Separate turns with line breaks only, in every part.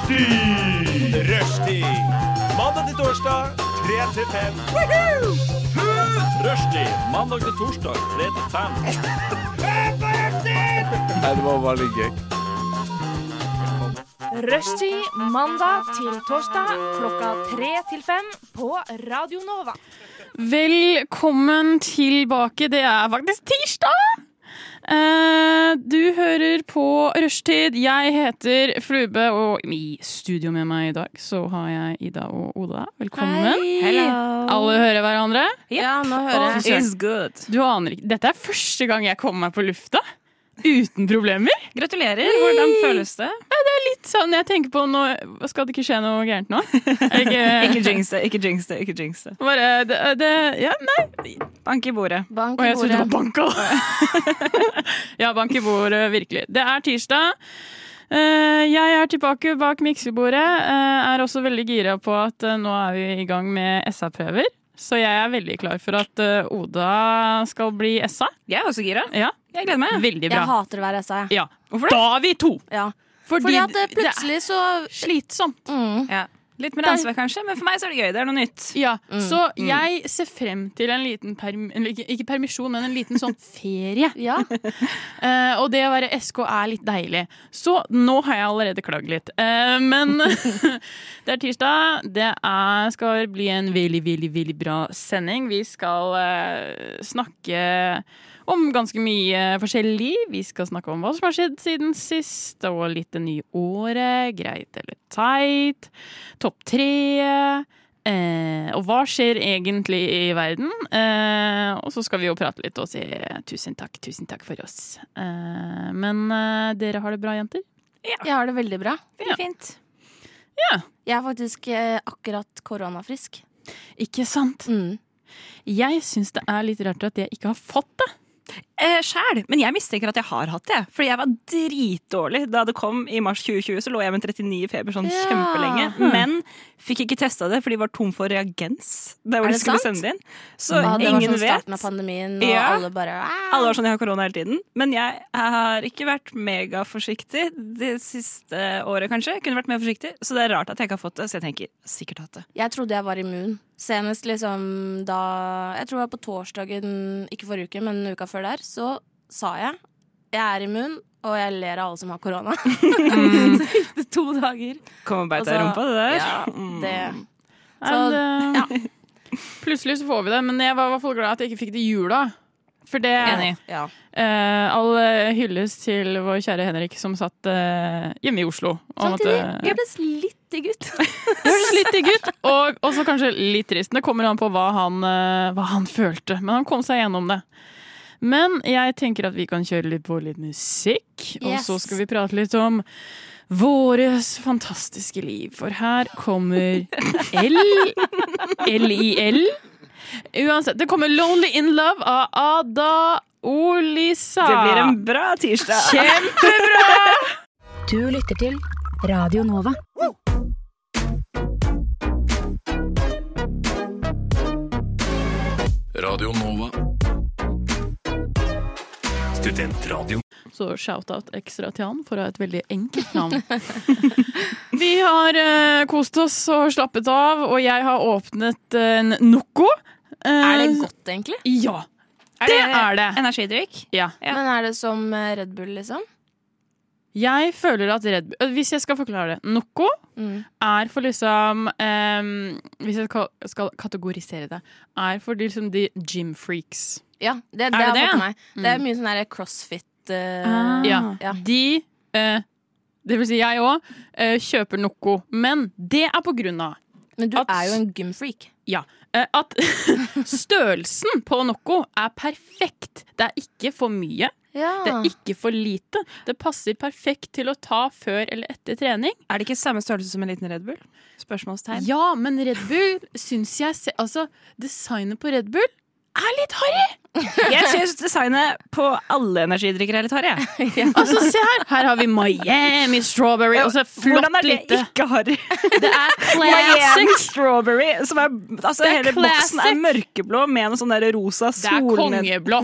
Rushtid! Rushtid. Mandag til torsdag, 3 til 5. Rushtid. Mandag til torsdag, 3 til 5.
Nei, det var veldig gøy.
Rushtid mandag til torsdag klokka tre til fem på Radio Nova.
Velkommen tilbake. Det er faktisk tirsdag! Eh, Du hører på Rushtid. Jeg heter Flube, og i studio med meg i dag så har jeg Ida og Oda. Velkommen. Alle hører hverandre.
Ja, nå hører jeg.
Is
good.
Du aner ikke, Dette er første gang jeg kommer meg på lufta uten problemer.
Gratulerer. Hvordan føles det?
Litt sånn jeg tenker på nå, Skal det ikke skje noe gærent nå? Jeg, eh,
jinx det, ikke jinx det, ikke jinx det.
bare, det, det, ja, nei,
Bank i bordet.
Og jeg trodde det var banka! ja, bank i bordet, virkelig. Det er tirsdag. Eh, Jeg er tilbake bak miksebordet. eh, Er også veldig gira på at eh, nå er vi i gang med SA-prøver. Så jeg er veldig klar for at eh, Oda skal bli SA.
Jeg er også gira.
Ja,
Jeg gleder meg.
Veldig
Jeg
bra.
hater å være SA, jeg.
Ja. Da er vi to!
Ja.
Fordi,
Fordi at eh,
det er
plutselig så
slitsomt.
mm,
Ja. Litt mer ansvar kanskje, men for meg så er det gøy. Det er noe nytt.
Ja,
Mm.
Så jeg ser frem til en liten perm... Ikke ikke permisjon, men en liten sånn ferie.
Ja.
Eh, og det å være SK er litt deilig. Så nå har jeg allerede klagd litt. Eh, men det er tirsdag. Det er, skal bli en veldig, veldig, veldig bra sending. Vi skal eh, snakke om ganske mye forskjellig. Vi skal snakke om hva som har skjedd siden sist, og litt det nye året. Greit eller teit. Topp tre. Eh, og hva skjer egentlig i verden? Eh, og så skal vi jo prate litt og si tusen takk, tusen takk for oss. Eh, men eh, dere har det bra, jenter?
Jeg har det veldig bra.
Veldig
fint.
Ja.
Jeg er faktisk eh, akkurat koronafrisk.
Ikke sant?
Mm.
Jeg syns det er litt rart at jeg ikke har fått det.
Eh, Sjæl, men jeg mistenker at jeg har hatt det. Fordi jeg var dritdårlig da det kom i mars 2020. Så lå jeg med 39 i feber sånn
Ja. Hmm.
kjempelenge. Men fikk ikke testa det, for de var tom for reagens. Det var
Er
de
det
skulle
sant?
sende inn. Så
Ja, det var
ingen
sånn starten av
vet.
pandemien, og
Ja.
alle bare «Ah!»
Alle var sånn, jeg har korona hele tiden. Men jeg har ikke vært megaforsiktig det siste året, kanskje. Jeg kunne vært mer forsiktig, så det er rart at jeg ikke har fått det. Så jeg tenker sikkert hatt det.
Jeg trodde jeg var immun. Senest liksom da Jeg tror det var på torsdagen, ikke forrige uke, men uka før der, så sa jeg jeg er immun, og jeg ler av alle som har korona. så gikk det to dager.
Kom og beit deg i
Altså,
rumpa, det der.
Ja,
Mm.
det Så-
Men, eh, Plutselig så får vi det, men jeg var i hvert fall glad at jeg ikke fikk det i jula. For det
Enig.
Ja.
Eh, all eh, hyllest til vår kjære Henrik som satt eh, hjemme i Oslo. og
Samtidig
måtte-
gjøres litt digg ut.
Det høres litt digg ut, og også kanskje litt trist. Det kommer an på hva han, eh, hva han følte, men han kom seg gjennom det. Men jeg tenker at vi kan kjøre litt på litt musikk, og
Yes.
så skal vi prate litt om våres fantastiske liv. For her kommer L L-I-L. Uansett, det kommer 'Lonely in Love' av Ada Olisa.
Det blir en bra tirsdag.
Du lytter til Radio Nova.
Radio Nova.
Studentradio.
Så shout-out ekstra til han for å ha et veldig enkelt navn. Vi har eh, kost oss og slappet av, og jeg har åpnet en Noco. Eh,
Er det godt, egentlig?
Ja. Det er det.
Energidrikk?
ja.
Ja.
Men er det som eh, Red Bull, liksom?
Jeg føler at Red Bull Hvis jeg skal forklare det. Noco
Mm.
er for liksom eh, Hvis jeg skal- skal kategorisere det, er for de, liksom de gym freaks.
Ja, det, det,
det
har
det,
fått
ja?
meg. Det er mye sånn der crossfit eh,
Ah.
Ja.
Ja.
De eh, det vil si jeg òg, kjøper Noco. Men det er på grunn av
Men du
At-
er jo en gymfreak.
Eh, at størrelsen på Noco er perfekt. Det er ikke for mye,
Ja.
det
Ah.
er ikke for lite. Det passer perfekt til å ta før eller etter trening.
Er det ikke samme størrelse som en liten Red Bull? Spørsmålstegn.
Ja, men Red Bull syns jeg se, Altså, designet på Red Bull er litt harry!
Jeg syns designet på alle energidrikker er litt harry. jeg.
Altså, se her! Her har vi Miami Strawberry. Og så flott
Hvordan er det
lite
ikke harry?
Det er
Miami
classic!
strawberry. Som er, altså,
Det er
hele boksen er
classic.
mørkeblå med noe sånn der rosa
Det er
sol ned.
kongeblå.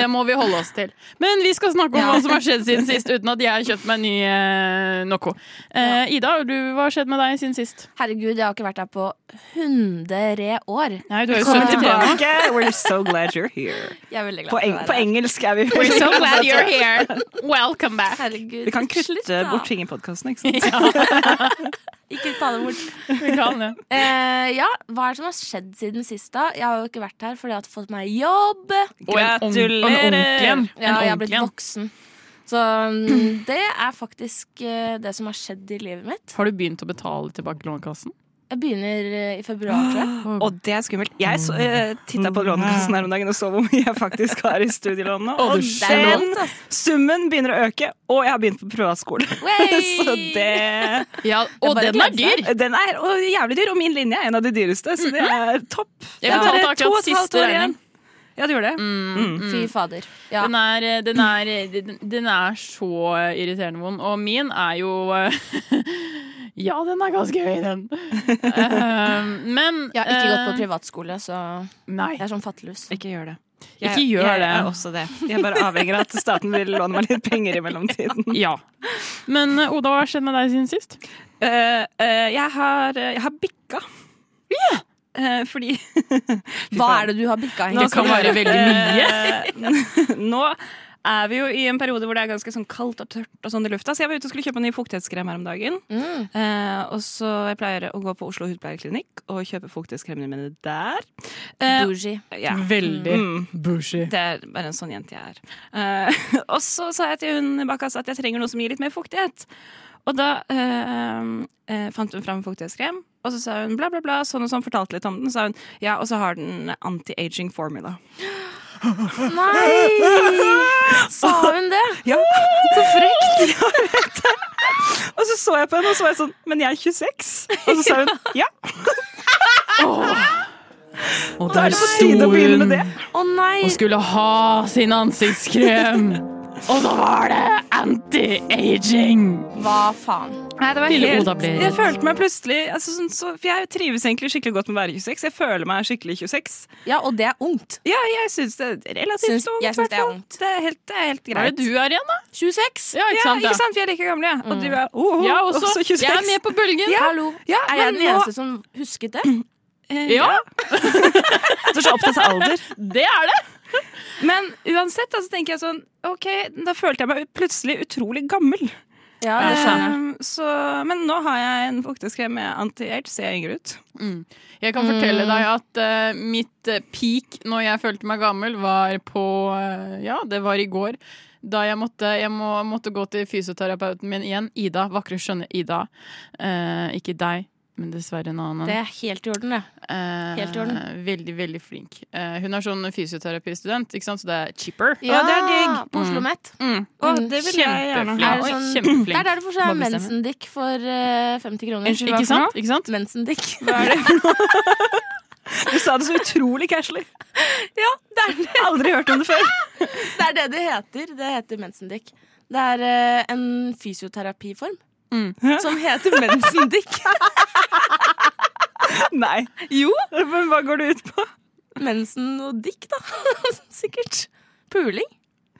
Det må vi holde oss til. Men vi skal snakke om hva som har skjedd siden sist, uten at jeg har kjøpt meg ny eh, Noco. Eh, Ida, du, hva har skjedd med deg siden sist?
Herregud, jeg har ikke vært her på hundre år.
Nei, du er jo
Kom
73 nå.
tilbake. We're so glad you're here.
Jeg er veldig glad
På, eng
for å være
på
her.
engelsk er vi
We're so glad you're here. Welcome back.
Herregud,
Vi kan
slutt,
kutte
da.
bort ting i podkasten, ikke sant?
Ikke ta det bort.
Vi kan det.
Eh, ja, hva er det som har skjedd siden sist, da? Jeg har jo ikke vært her fordi jeg har fått meg jobb.
Og en ong- og en ordentlig en.
Ja, jeg
En
har blitt
ordentlig en.
voksen. Så mm, det er faktisk eh, det som har skjedd i livet mitt.
Har du begynt å betale tilbake Lånekassen?
Jeg begynner eh, i februar, tror jeg.
Og det er skummelt. Jeg så- eh, titta på Lånekassen her om dagen og så hvor mye jeg faktisk har i studielånene.
Å,
Og
du
Det er
den
lånt, altså.
summen begynner å øke, og jeg har begynt på privatskole.
Wey!
Så det
Ja, og
bare
den er
gleder
dyr! Mhm.
Den er og jævlig dyr, og min linje er en av de dyreste, så det er topp. Det
Jeg
er
betalte
bare
akkurat
to og et halvt
siste Mm.
år
regning.
igjen. Ja, du gjorde det. Mm.
Fy fader. Ja.
Den er, eh, den, er, den- den er så irriterende vond. Og min er jo eh, Ja, den er ganske høy, den. Eh, Men
Jeg har ikke gått på
eh,
privatskole, så
Nei.
jeg er sånn fattiglus.
Ikke gjør det.
Jeg- Ikke gjør
jeg
det.
er også det. Jeg bare avhenger av at staten vil låne meg litt penger i mellomtiden.
Ja. Men eh, Oda, hva har skjedd med deg siden sist?
Eh, eh, jeg, har, jeg har bikka. Eh, fordi
Hva er det du har bikka
Det
egentlig?
kan være veldig mye.
Eh, Nå er vi jo i en periode hvor det er ganske sånn kaldt og tørt og sånn i lufta, så jeg var ute og skulle kjøpe en ny fuktighetskrem her om dagen.
Mm.
Eh, og så jeg pleier å gå på Oslo hudpleieklinikk og kjøpe fuktighetskremene mine der. Eh,
Bougie.
ja.
Veldig
Mm.
bushy.
Det er bare en sånn jente jeg er. Eh, og så sa jeg til hun bak kassa at jeg trenger noe som gir litt mer fuktighet. Og da eh, eh, fant hun fram fuktighetskrem, og så sa hun bla, bla, bla, sånn og sånn, fortalte litt om den. Så sa hun ja, og så har den anti-aging formula.
Nei! Sa hun det?
Ja, så frekt! Ja, jeg vet det. Og så så jeg på henne, og så var jeg sånn Men jeg er 26. Og så sa hun ja,
Og
da er
der
det på tide å begynne med det.
Å nei!
og skulle ha sin ansiktskrem. Og så var det anti-aging!
Hva faen?
Nei, det var
Lille
helt,
Oda ble
jeg følte meg plutselig altså, sånn, så, For jeg trives egentlig skikkelig godt med å være 26. Jeg føler meg skikkelig 26.
Ja, og det er ungt.
Ja, jeg syns det er relativt
Syns-
ungt.
jeg syns det er
hvertfall.
ungt.
Det er helt, det er helt
Hva er
greit.
det du er igjen, da?
26?
Ja, ikke
Ja,
sant?
ikke
Ja.
sant? Vi er like gamle, ja.
Mm.
Og du er oh,
Jeg også. Jeg er med på bølgen.
Hallo.
Ja,
Er jeg den
men nå- Mm. eh,
eneste som husket det?
Ja,
Du er så opptatt av alder.
det er det!
Men uansett, altså, tenker jeg sånn OK, da følte jeg meg plutselig utrolig gammel.
Ja, det skjønner jeg.
Eh, så, men nå har jeg en fuktighetskrem med anti-age, ser jeg yngre ut.
Jeg kan fortelle deg at eh, mitt eh, peak når jeg følte meg gammel, var på eh, Ja, det var i går. Da jeg måtte, jeg må, måtte gå til fysioterapeuten min igjen. Ida. Vakre, skjønne Ida. Eh, ikke deg, men dessverre en annen.
Det er helt i orden, det.
Eh,
Helt i orden.
Veldig, veldig flink. Eh, hun er sånn fysioterapistudent, ikke sant? så det er cheaper.
Ja, det er digg.
På Oslo Met.
Mm.
Å,
Mm,
det vil jeg gjerne
Kjempeflink.
Er
ha.
det
Oi,
sånn- Det
kjempeflink.
er der du får sånn
Bare bestemme.
mensendick for eh, 50 kroner.
Unnskyld,
Ikke
hva for
sant? Ikke sant?
Mensendick.
Du sa det så utrolig casually.
ja, det er det.
Aldri hørt om det før.
det er det det heter. Det heter mensendick. Det er eh, en fysioterapiform
Mm.
som heter mensendick.
Nei. Jo. Men hva går det ut på?
Mensen og dick, da. Sikkert. Puling.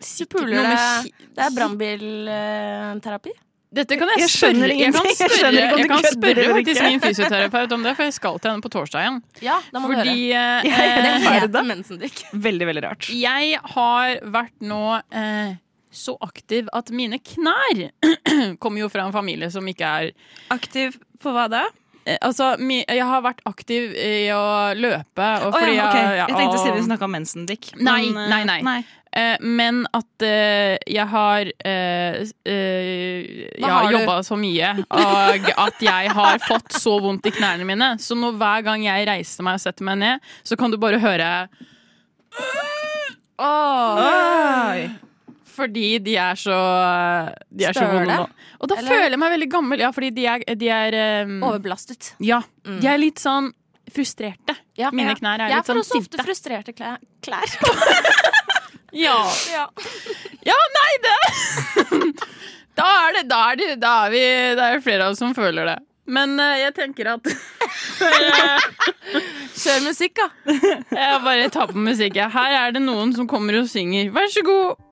Du puler
noe med
deg.
ki-
Det er brannbilterapi.
Dette kan jeg,
Jeg skjønner
spørre, jeg kan
ingenting. Jeg
spørre,
skjønner ikke om
jeg
du
kan
kødder
spørre
eller
faktisk
ikke.
min fysioterapeut om det, for jeg skal til henne på torsdag igjen.
Ja, da må
Fordi
du høre.
eh,
Det
Ferda.
heter mensendick.
Veldig, veldig rart.
Jeg har vært nå eh, så aktiv at mine knær kommer jo fra en familie som ikke er
Aktiv på hva da?
eh, Altså, mi, jeg har vært aktiv i å løpe. Og
Å
fordi
ja, ok.
jeg- ja,
Jeg tenkte
og-
Silje snakka om mensendick.
Nei,
Men, eh,
nei, nei. Eh, men at eh, jeg har eh, eh, Jeg
har
har
du?
jobba så mye, og at jeg har fått så vondt i knærne mine. Så nå hver gang jeg reiser meg og setter meg ned, så kan du bare høre
Oi.
Fordi de er så De er så
Støle?
vonde nå. Og da
Eller?
føler jeg meg veldig gammel. Ja, fordi de er, de er eh,
Overbelastet.
Ja.
Mm.
De er litt sånn frustrerte.
Ja.
Mine
Ja.
knær er
Jeg
litt
får
sånn
også ofte
sinte.
frustrerte klær. klær.
Ja.
Ja.
Ja, nei, det Da er det, da er det, da er vi, det er flere av oss som føler det. Men eh, jeg tenker at
Kjør musikk, da.
Jeg bare tar på musikk. jeg. Her er det noen som kommer og synger. Vær så god.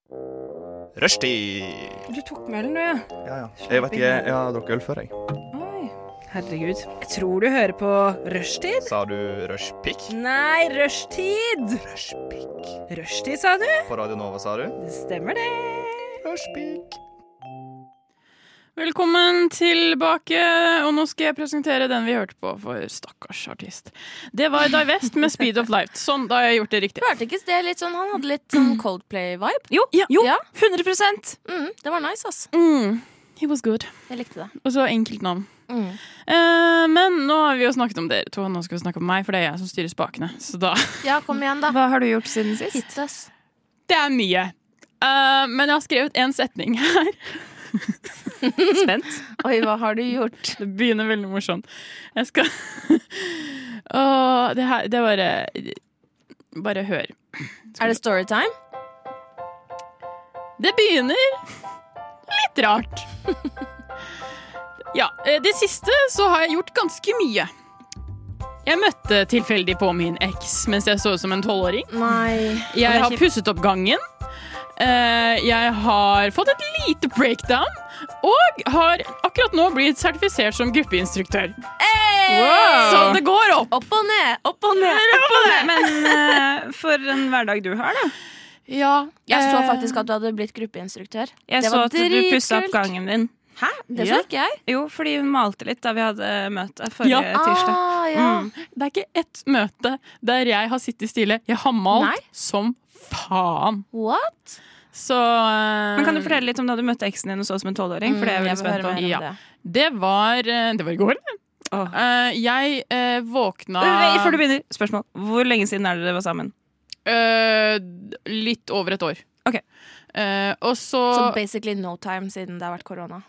Rushtid!
Du tok mølen, du, ja.
Ja, ja. Jeg vet ikke, jeg har drukket øl før, jeg.
Oi.
Herregud. Jeg tror du hører på rushtid.
Sa du rushpick?
Nei, rushtid!
Rushpick.
Rushtid, sa du?
På Radio Nova, sa du?
Det stemmer, det.
Rushpick.
Velkommen tilbake. Og nå skal jeg presentere den vi hørte på for stakkars artist. Det var Die West med Speed of Light. Sånn, da har jeg gjort det riktig.
Hørte ikke det litt sånn Han hadde litt sånn Coldplay-vibe.
Jo,
Ja.
jo,
Ja.
100
Mm, det var nice, ass.
Mm. He was good.
Jeg likte det.
Og så enkelt navn.
Mm.
Eh, men nå har vi jo snakket om dere to, og nå skal vi snakke om meg, for det er jeg som styrer spakene. Så da
Ja, kom igjen, da.
Hva har du gjort siden sist?
Hit, ass.
Det er mye. Eh, men jeg har skrevet én setning her.
Spent.
Oi, hva har du gjort?
Det begynner veldig morsomt. Jeg skal Åh, det her Det er bare Bare hør.
Er det storytime?
Det begynner litt rart. Ja, eh, det siste så har jeg gjort ganske mye. Jeg møtte tilfeldig på min eks mens jeg så ut som en tolvåring.
Nei.
Jeg har pusset opp gangen. Eh, Jeg har fått et lite breakdown. Og har akkurat nå blitt sertifisert som gruppeinstruktør. Så det går opp!
Opp og ned, opp og ned.
Men eh, for en hverdag du har, da.
Ja,
Jeg så
eh,
faktisk at du hadde blitt gruppeinstruktør.
Jeg
Det
så
var
at du pussa opp
dritkult.
gangen din.
Hæ? Det
Ja.
så ikke jeg.
Jo, fordi hun malte litt da vi hadde møte forrige
Ja.
tirsdag.
Ah, ja.
Mm.
Det er ikke ett møte der jeg har sittet stille. Jeg har malt
Nei.
som faen.
What?
Så eh,
Men kan du fortelle litt om da du møtte eksen din og så ut som en tolvåring? For det er jeg
Mm,
veldig
vil høre
spent på.
mer om
Ja.
det.
Det var eh, Det var i går.
Åh.
Eh, jeg eh, våkna
Nei, Før du begynner, spørsmål. Hvor lenge siden er dere var sammen?
eh, litt over et år.
Ok.
Eh, og så
Så basically no time siden det har vært korona.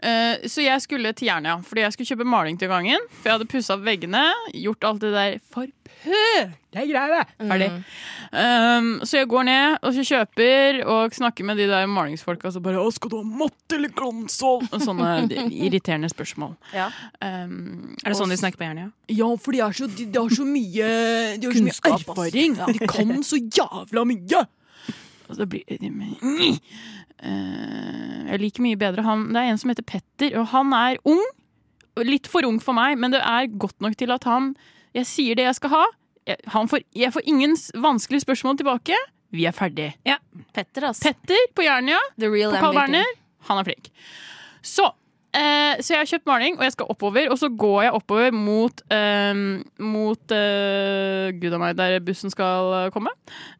Eh, Så jeg skulle til Jernia, fordi jeg skulle kjøpe maling til gangen. For jeg hadde pussa opp veggene, gjort alt det der forpølte greiene. Ferdig.
Mm.
Um, så jeg går ned og så kjøper og snakker med de der malingsfolka. Så bare «Å, 'Skal du ha matt eller glansål?' Og Sånne irriterende spørsmål.
Ja.
Um,
Er det sånn
og
de snakker på Jernia?
ja, for de, er så, de, de har så mye, de har så mye
Kunnskap, ass.
erfaring. De kan så jævla mye! Og så blir de Eh, Jeg liker mye bedre han Det er en som heter Petter, og han er ung. og Litt for ung for meg, men det er godt nok til at han Jeg sier det jeg skal ha. Jeg, han får, jeg får ingen s- vanskelige spørsmål tilbake. Vi er ferdig.
Petter, ass.
Petter på Jernia
The real
på Carl
MVP.
Berner. Han er flink. Så, eh, så jeg har kjøpt maling, og jeg skal oppover. Og så går jeg oppover mot, eh, mot eh, gud a meg, der bussen skal eh, komme.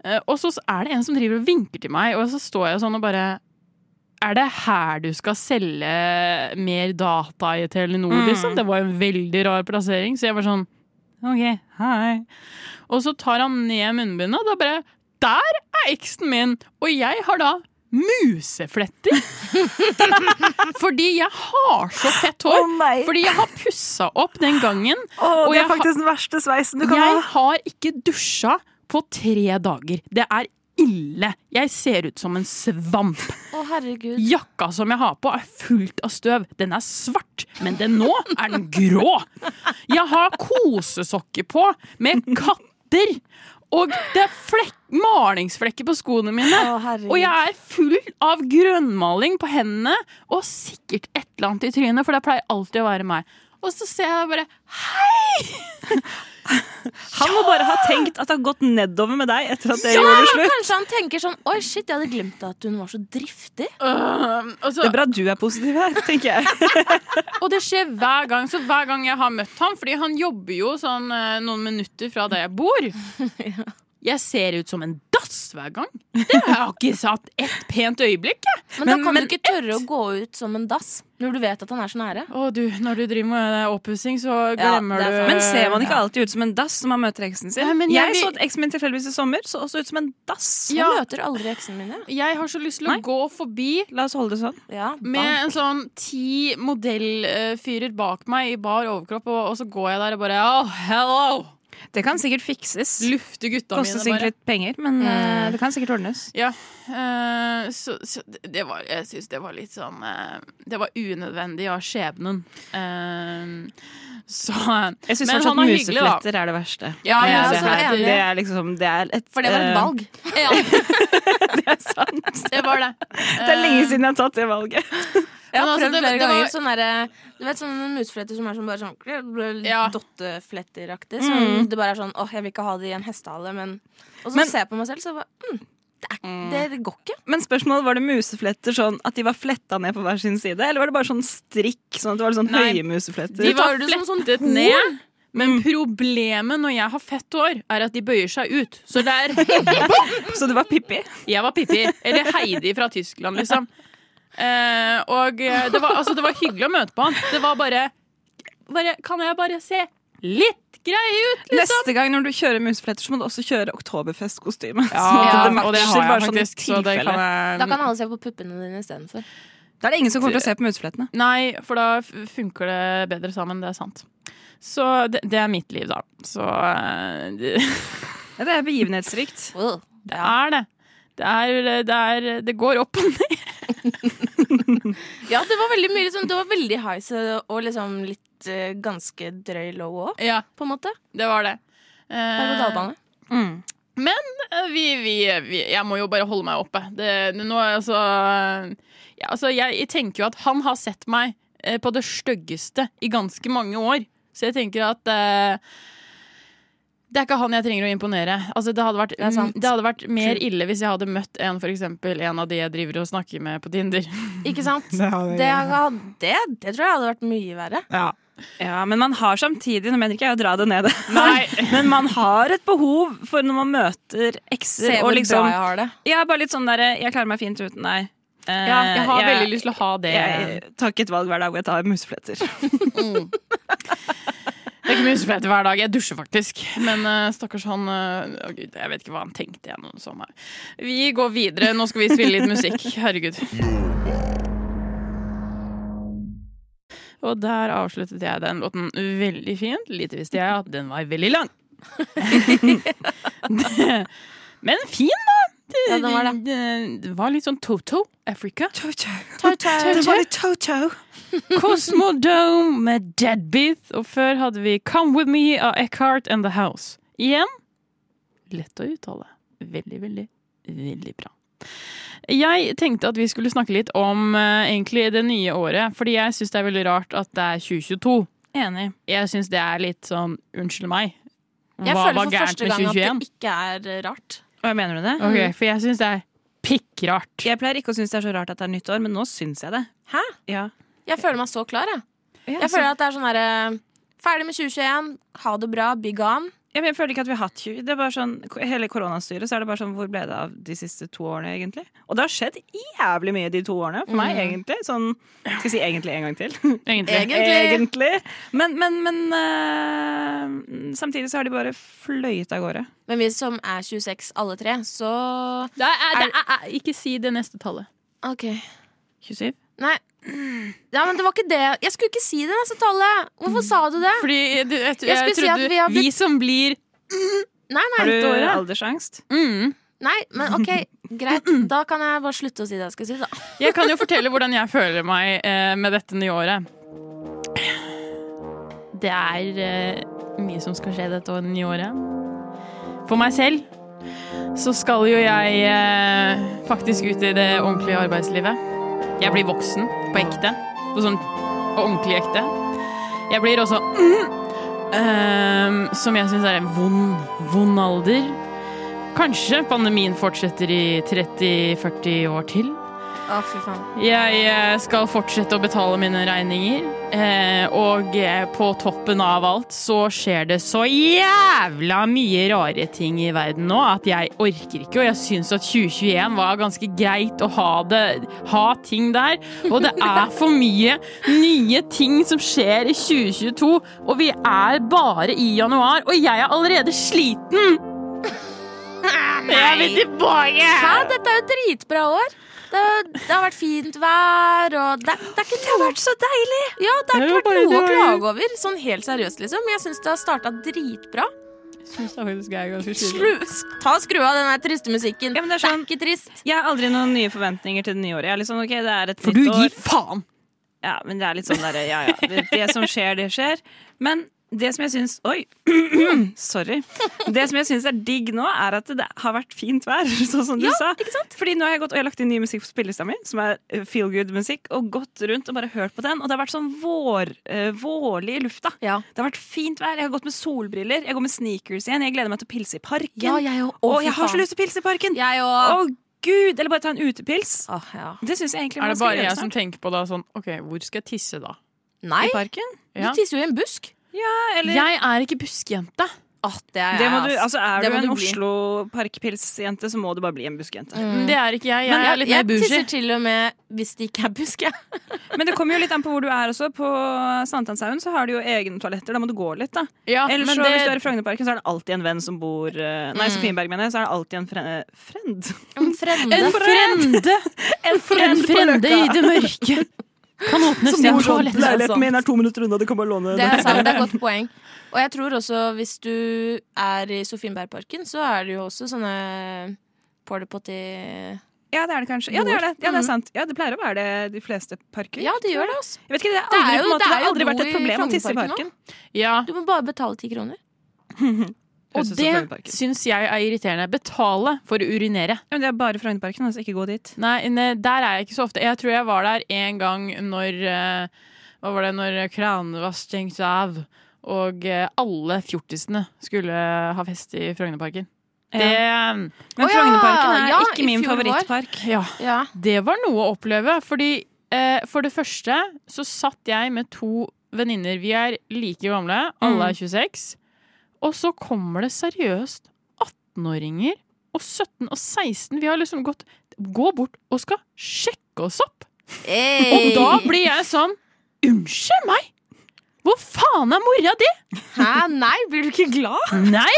Eh, og så er det en som driver og vinker til meg, og så står jeg sånn og bare er det her du skal selge mer data i Telenor,
Mm.
liksom? Det var en veldig rar plassering, så jeg var sånn OK, hei. Og så tar han ned munnbindet, og da bare Der er eksen min! Og jeg har da musefletter. Fordi jeg har så fett hår.
nei!
Fordi jeg har pussa opp den gangen.
Åh,
Og
det
jeg
er faktisk den verste sveisen du kan
Jeg
ha.
har ikke dusja på tre dager. Det er ille. Jeg ser ut som en svamp.
Å, herregud.
Jakka som jeg har på er fullt av støv. Den er svart, men den nå er den grå. Jeg har kosesokker på med katter. Og det er flekk, malingsflekker på skoene mine.
Å, herregud.
Og jeg er full av grønnmaling på hendene og sikkert et eller annet i trynet, for det pleier alltid å være meg. Og så ser jeg bare
Han må bare ha tenkt at det har gått nedover med deg etter at dere gjorde slutt.
Kanskje han tenker sånn Oi, shit, jeg hadde glemt at hun var så driftig.
øh, og, så,
Det er bra du er positiv her, tenker jeg.
og det skjer hver gang. Så hver gang jeg har møtt ham, fordi han jobber jo sånn eh, noen minutter fra der jeg bor. Jeg ser ut som en dass hver gang. Det har jeg ikke satt ett pent øyeblikk. jeg.
Men, da kan du ikke tørre å gå ut som en dass når du vet at han er så nære.
Å du, Når du driver med eh, oppussing, så glemmer
det
du
er sant.
Men ser man ikke alltid ut som en dass når man møter eksen sin?
Ja, men jeg
jeg
vil-
så at eksen min tilfeldigvis i sommer så også ut som en dass.
Jeg
Ja.
møter aldri eksene mine.
Jeg har så lyst til å
Nei.
gå forbi
La oss holde det sånn.
Ja,
Med en sånn ti modellfyrer bak meg i bar overkropp, og, og så går jeg der og bare Oh, hello!
Det kan sikkert fikses.
Lufte gutta
Koster
mine,
sikkert
bare.
litt penger, men eh, det kan sikkert ordnes.
Eh, så, så det det var Jeg syns det var litt sånn eh, Det var unødvendig av skjebnen. Eh, så
Jeg syns
Men
fortsatt
han er hyggelig, da.
musefletter er det verste.
Ja,
Med
jeg er
det,
så
her.
enig.
det er liksom Det er et
For det var
eh,
et valg.
Ja,
Det er sant.
det var det.
Det er lenge siden jeg har tatt det valget.
Jeg har
Men altså,
prøvd
det-
flere
det var-
ganger. Sånne der, du vet sånne musefletter som er sånn bare sånn
Ja.
dottefletteraktig. Som det bare er sånn åh, jeg vil ikke ha det i en hestehale, men Og så
Men-
ser jeg på meg selv, så bare mm, det, er, det, det går ikke.
Men spørsmålet var det musefletter sånn at de var fletta ned på hver sin side, eller var det bare sånn strikk? Sånn at det var litt sånn
Nei.
høye musefletter?
Eh, De var
tar det som sånn
flettet ned.
Mm.
Men problemet når jeg har fett hår, er at de bøyer seg ut. Så det er
Så det var Pippi?
Jeg var Pippi. Eller Heidi fra Tyskland, liksom. Eh, og eh, det var, altså, det var hyggelig å møte på han. Det var bare, bare Kan jeg bare se litt grei ut, liksom?
Neste gang når du kjører musefletter, så må du også kjøre oktoberfestkostyme.
Ja,
sånn at det matcher,
og det har jeg
bare sånn
faktisk. Så det kan
tilfelle.
jeg
Mm.
Da kan alle se på puppene dine istedenfor.
Da er det ingen som kommer til å se på museflettene.
Nei, for da f- funker det bedre sammen. Det er sant. Så det, det er mitt liv, da. Så eh, det
Ja, det er begivenhetsrikt.
Wow.
det er det. Det, er, det, er, det går opp og ned.
Ja, det var veldig mye liksom, Det var veldig highs og liksom litt eh, ganske drøy low òg,
Ja,
på en måte.
det var det.
Berg- og
Eh,
dalbane.
Mm.
Eh, Vi, vi, vi, jeg må jo bare holde meg oppe. Det, det, nå, altså, ja, altså, jeg, jeg tenker jo at han har sett meg eh, på det styggeste i ganske mange år. Så jeg tenker at eh, det er ikke han jeg trenger å imponere. Altså, det, hadde vært,
er sant.
det hadde vært mer ille hvis jeg hadde møtt en, for eksempel, en av de jeg driver og snakker med på Tinder.
Ikke sant? Det, hadde- det, det tror jeg hadde vært mye verre.
Ja, men man har samtidig, nå mener ikke jeg å dra det ned,
Nei.
men man har et behov for når man møter ekser
Se
og
hvor bra
liksom
jeg har det.
Jeg er bare litt sånn derre Jeg klarer meg fint uten deg. Eh,
Ja, jeg har veldig lyst til å ha det.
jeg tar ikke et valg hver dag hvor jeg tar musefletter.
Det er ikke mye som heter hver dag. Jeg dusjer faktisk. Men eh, stakkars han eh, å Gud, Jeg vet ikke hva han tenkte gjennom sommeren. Vi går videre. Nå skal vi spille litt musikk. Herregud. Og der avsluttet jeg den låten veldig fint. Lite visste jeg at den var veldig lang. Det- Men fin, da! Det,
Ja, den var det.
det- det var litt sånn Toto Africa.
Det var litt Toto.
Cosmodome med Deadbeat, og før hadde vi Come With Me av Eckhart and The House. Igjen lett å uttale. Veldig, veldig, veldig bra. Jeg tenkte at vi skulle snakke litt om eh, egentlig det nye året, fordi jeg syns det er veldig rart at det er 2022.
Enig.
Jeg syns det er litt sånn unnskyld meg.
Jeg
Hva
føler
var
for
gærent
første
med
gang at
2021?
det ikke er eh, rart.
Hva mener du det?
Ok, for jeg syns det er pikkrart.
Jeg pleier ikke å synes det er så rart at det er nytt år, men nå syns jeg det.
Hæ?
Ja.
Jeg føler meg så klar, jeg.
Ja,
Jeg
så-
føler at det er sånn herre Ferdig med 2021, ha det bra, be gone.
Ja, men jeg føler ikke at vi har hatt 20 Det er bare sånn, Hele koronastyret, så er det bare sånn Hvor ble det av de siste to årene, egentlig? Og det har skjedd jævlig mye de to årene for meg, egentlig. Sånn, skal jeg si egentlig en gang til?
Egentlig.
Egentlig. Men, men, men øh, Samtidig så har de bare fløyet av gårde.
Men vi som er 26 alle tre, så
Det er, det er, er, ikke si det neste tallet.
OK.
27?
Nei. Ja, men det var ikke det. Jeg skulle ikke si det neste tallet. Hvorfor sa du det?
Fordi du, jeg, jeg,
Jeg skulle si at
trodde
vi har
vi som blir
Nei, nei.
Har du
dårlig.
aldersangst?
mm,
Nei, men OK, greit. Da kan jeg bare slutte å si det jeg skal si, da.
Jeg kan jo fortelle hvordan jeg føler meg eh, med dette nye året. Det er eh, mye som skal skje dette å- nye året. For meg selv så skal jo jeg eh, faktisk ut i det ordentlige arbeidslivet. Jeg blir voksen på ekte. På sånn på ordentlig ekte. Jeg blir også eh, Som jeg syns er en vond, vond alder. Kanskje pandemien fortsetter i 30-40 år til.
Å, fy faen.
Jeg eh, skal fortsette å betale mine regninger. eh, Og eh, på toppen av alt så skjer det så jævla mye rare ting i verden nå at jeg orker ikke. Og jeg syns at 2021 var ganske greit å ha, det, ha ting der. Og det er for mye nye ting som skjer i 2022, og vi er bare i januar, og jeg er allerede sliten! Jeg vil tilbake!
Hæ? Dette er jo et dritbra år. Det, er jo- det har vært fint vær, og det, det er ikke Det har vært så deilig! Ja, det
Det er
har ikke
jo
vært
bare
noe å
det.
klage over. Sånn helt seriøst, liksom. Jeg syns det har starta dritbra.
Syns det faktisk er ganske kjedelig.
Slu, sk- ta og Skru av den der triste musikken.
Ja, men det er sånn-
ikke trist.
Jeg har aldri noen nye forventninger til det nye året. Jeg er litt sånn, ok, det er et
For
nytt
du
år.
gir faen!
Ja, men det er litt sånn der, ja, ja. Det, det som skjer, det skjer. Men det som jeg syns Oi! Sorry. Det som jeg syns er digg nå, er at det har vært fint vær, sånn som du sa. Fordi nå har jeg gått og jeg har lagt inn ny musikk på spillelista mi, som er eh, feel good-musikk, og gått rundt og bare hørt på den. Og det har vært sånn vår, eh, vårlig i lufta.
Ja.
Det har vært fint vær. Jeg har gått med solbriller, jeg går med sneakers igjen, jeg gleder meg til å pilse i parken.
Ja, jeg òg.
Å, jeg har så lyst til å pilse i parken!
Jeg
Å,
òg.
gud! Eller bare ta en utepils.
Åh, ja.
Det syns jeg egentlig
Er
man
det
skal
bare
gjøre
jeg
snart.
som tenker på da sånn OK, hvor skal jeg tisse da?
Nei,
I parken?
Ja.
du tisser jo i en busk.
Eller-
Jeg er ikke buskejente.
Åh, det er
Det
jeg,
må du,
ass.
altså er
Det
du
må
en
du bli.
Oslo parkpilsjente, så må du bare bli en buskejente.
Det er ikke jeg.
Mm. Men
Jeg er
jeg,
litt mer
jeg tisser
bougie.
til og med hvis det ikke er busk. jeg.
Men det kommer jo litt an på hvor du er også. På Sankthanshaugen så har de jo egne toaletter. Da må du gå litt, da.
Ja,
Eller
men
så
det-
hvis du er i Frognerparken, så er det alltid en venn som bor eh,
Mm.
Nei, Sofienberg, mener jeg. Så er det alltid en fre friend.
En fremme.
En frende!
En
En frende i det mørke. sånn Kan åpne sin toalett.
min er to minutter unna, du kan bare låne
Det er sant, det er et godt poeng. Og jeg tror også hvis du er i Sofienbergparken, så er det jo også sånne porta potty
Ja, det er det kanskje. Ja, det er det. Ja, det er sant. Ja, det pleier å være det de fleste parker.
Ja, det gjør det, altså.
Jeg vet ikke, det, er
Det er
aldri,
jo-
på en
det
måte, det
er
har
jo
aldri vært
do
et
i
problem å tisse i
Frognerparken
parken.
Ja,
Du må bare betale ti kroner.
og det syns jeg er irriterende. Betale for å urinere.
Ja, men det er bare Frognerparken, altså. Ikke gå dit.
Nei, ne, der er jeg ikke så ofte. Jeg tror jeg var der en gang når eh, Hva var det? Når kranene var stengt av, og eh, alle fjortisene skulle ha fest i Frognerparken. Det,
Men
Å ja,
Frognerparken er
ja, i
ikke min
fjor vår.
favorittpark.
ja,
Ja.
det var noe å oppleve. Fordi eh, for det første så satt jeg med to venninner. Vi er like gamle, alle er 26. Og så kommer det seriøst 18-åringer og 17 og 16. Vi har liksom gått Gå bort og skal sjekke oss opp. Og da blir jeg sånn Unnskyld meg! Hvor faen er mora di?!
Hæ, nei, blir du ikke glad?
Nei!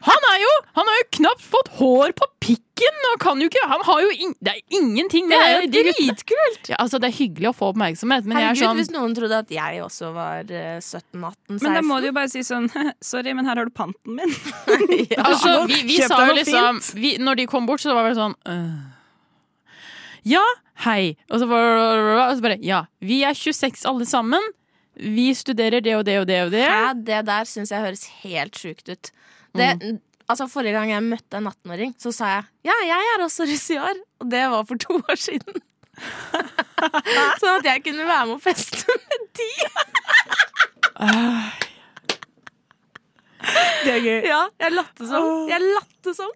Han, er jo, han har jo knapt fått hår på pikken! Og kan jo ikke, han har jo ing- det er ingenting! Det er jo dritkult! Ja, altså, det er hyggelig å få oppmerksomhet, men jeg er
Herregud,
sånn
hvis noen trodde at jeg også var eh, 17, 18, 16.
Men da må du jo bare si sånn Sorry, men her har du panten min.
altså, vi, vi
Kjøp
sa
deg
jo
noe
liksom vi, Når de kom bort, så var det sånn «Øh. Ja, hei. Og så, bare, og så bare Ja, vi er 26 alle sammen. Vi studerer det og det og det og det.
Hæ, det der syns jeg høres helt sjukt ut. Det, altså, forrige gang jeg møtte en 18-åring, så sa jeg ja, jeg er også russ i år. Og det var for to år siden. sånn at jeg kunne være med og feste med de.
Det er gøy.
Ja, jeg latte sånn. Jeg latte sånn.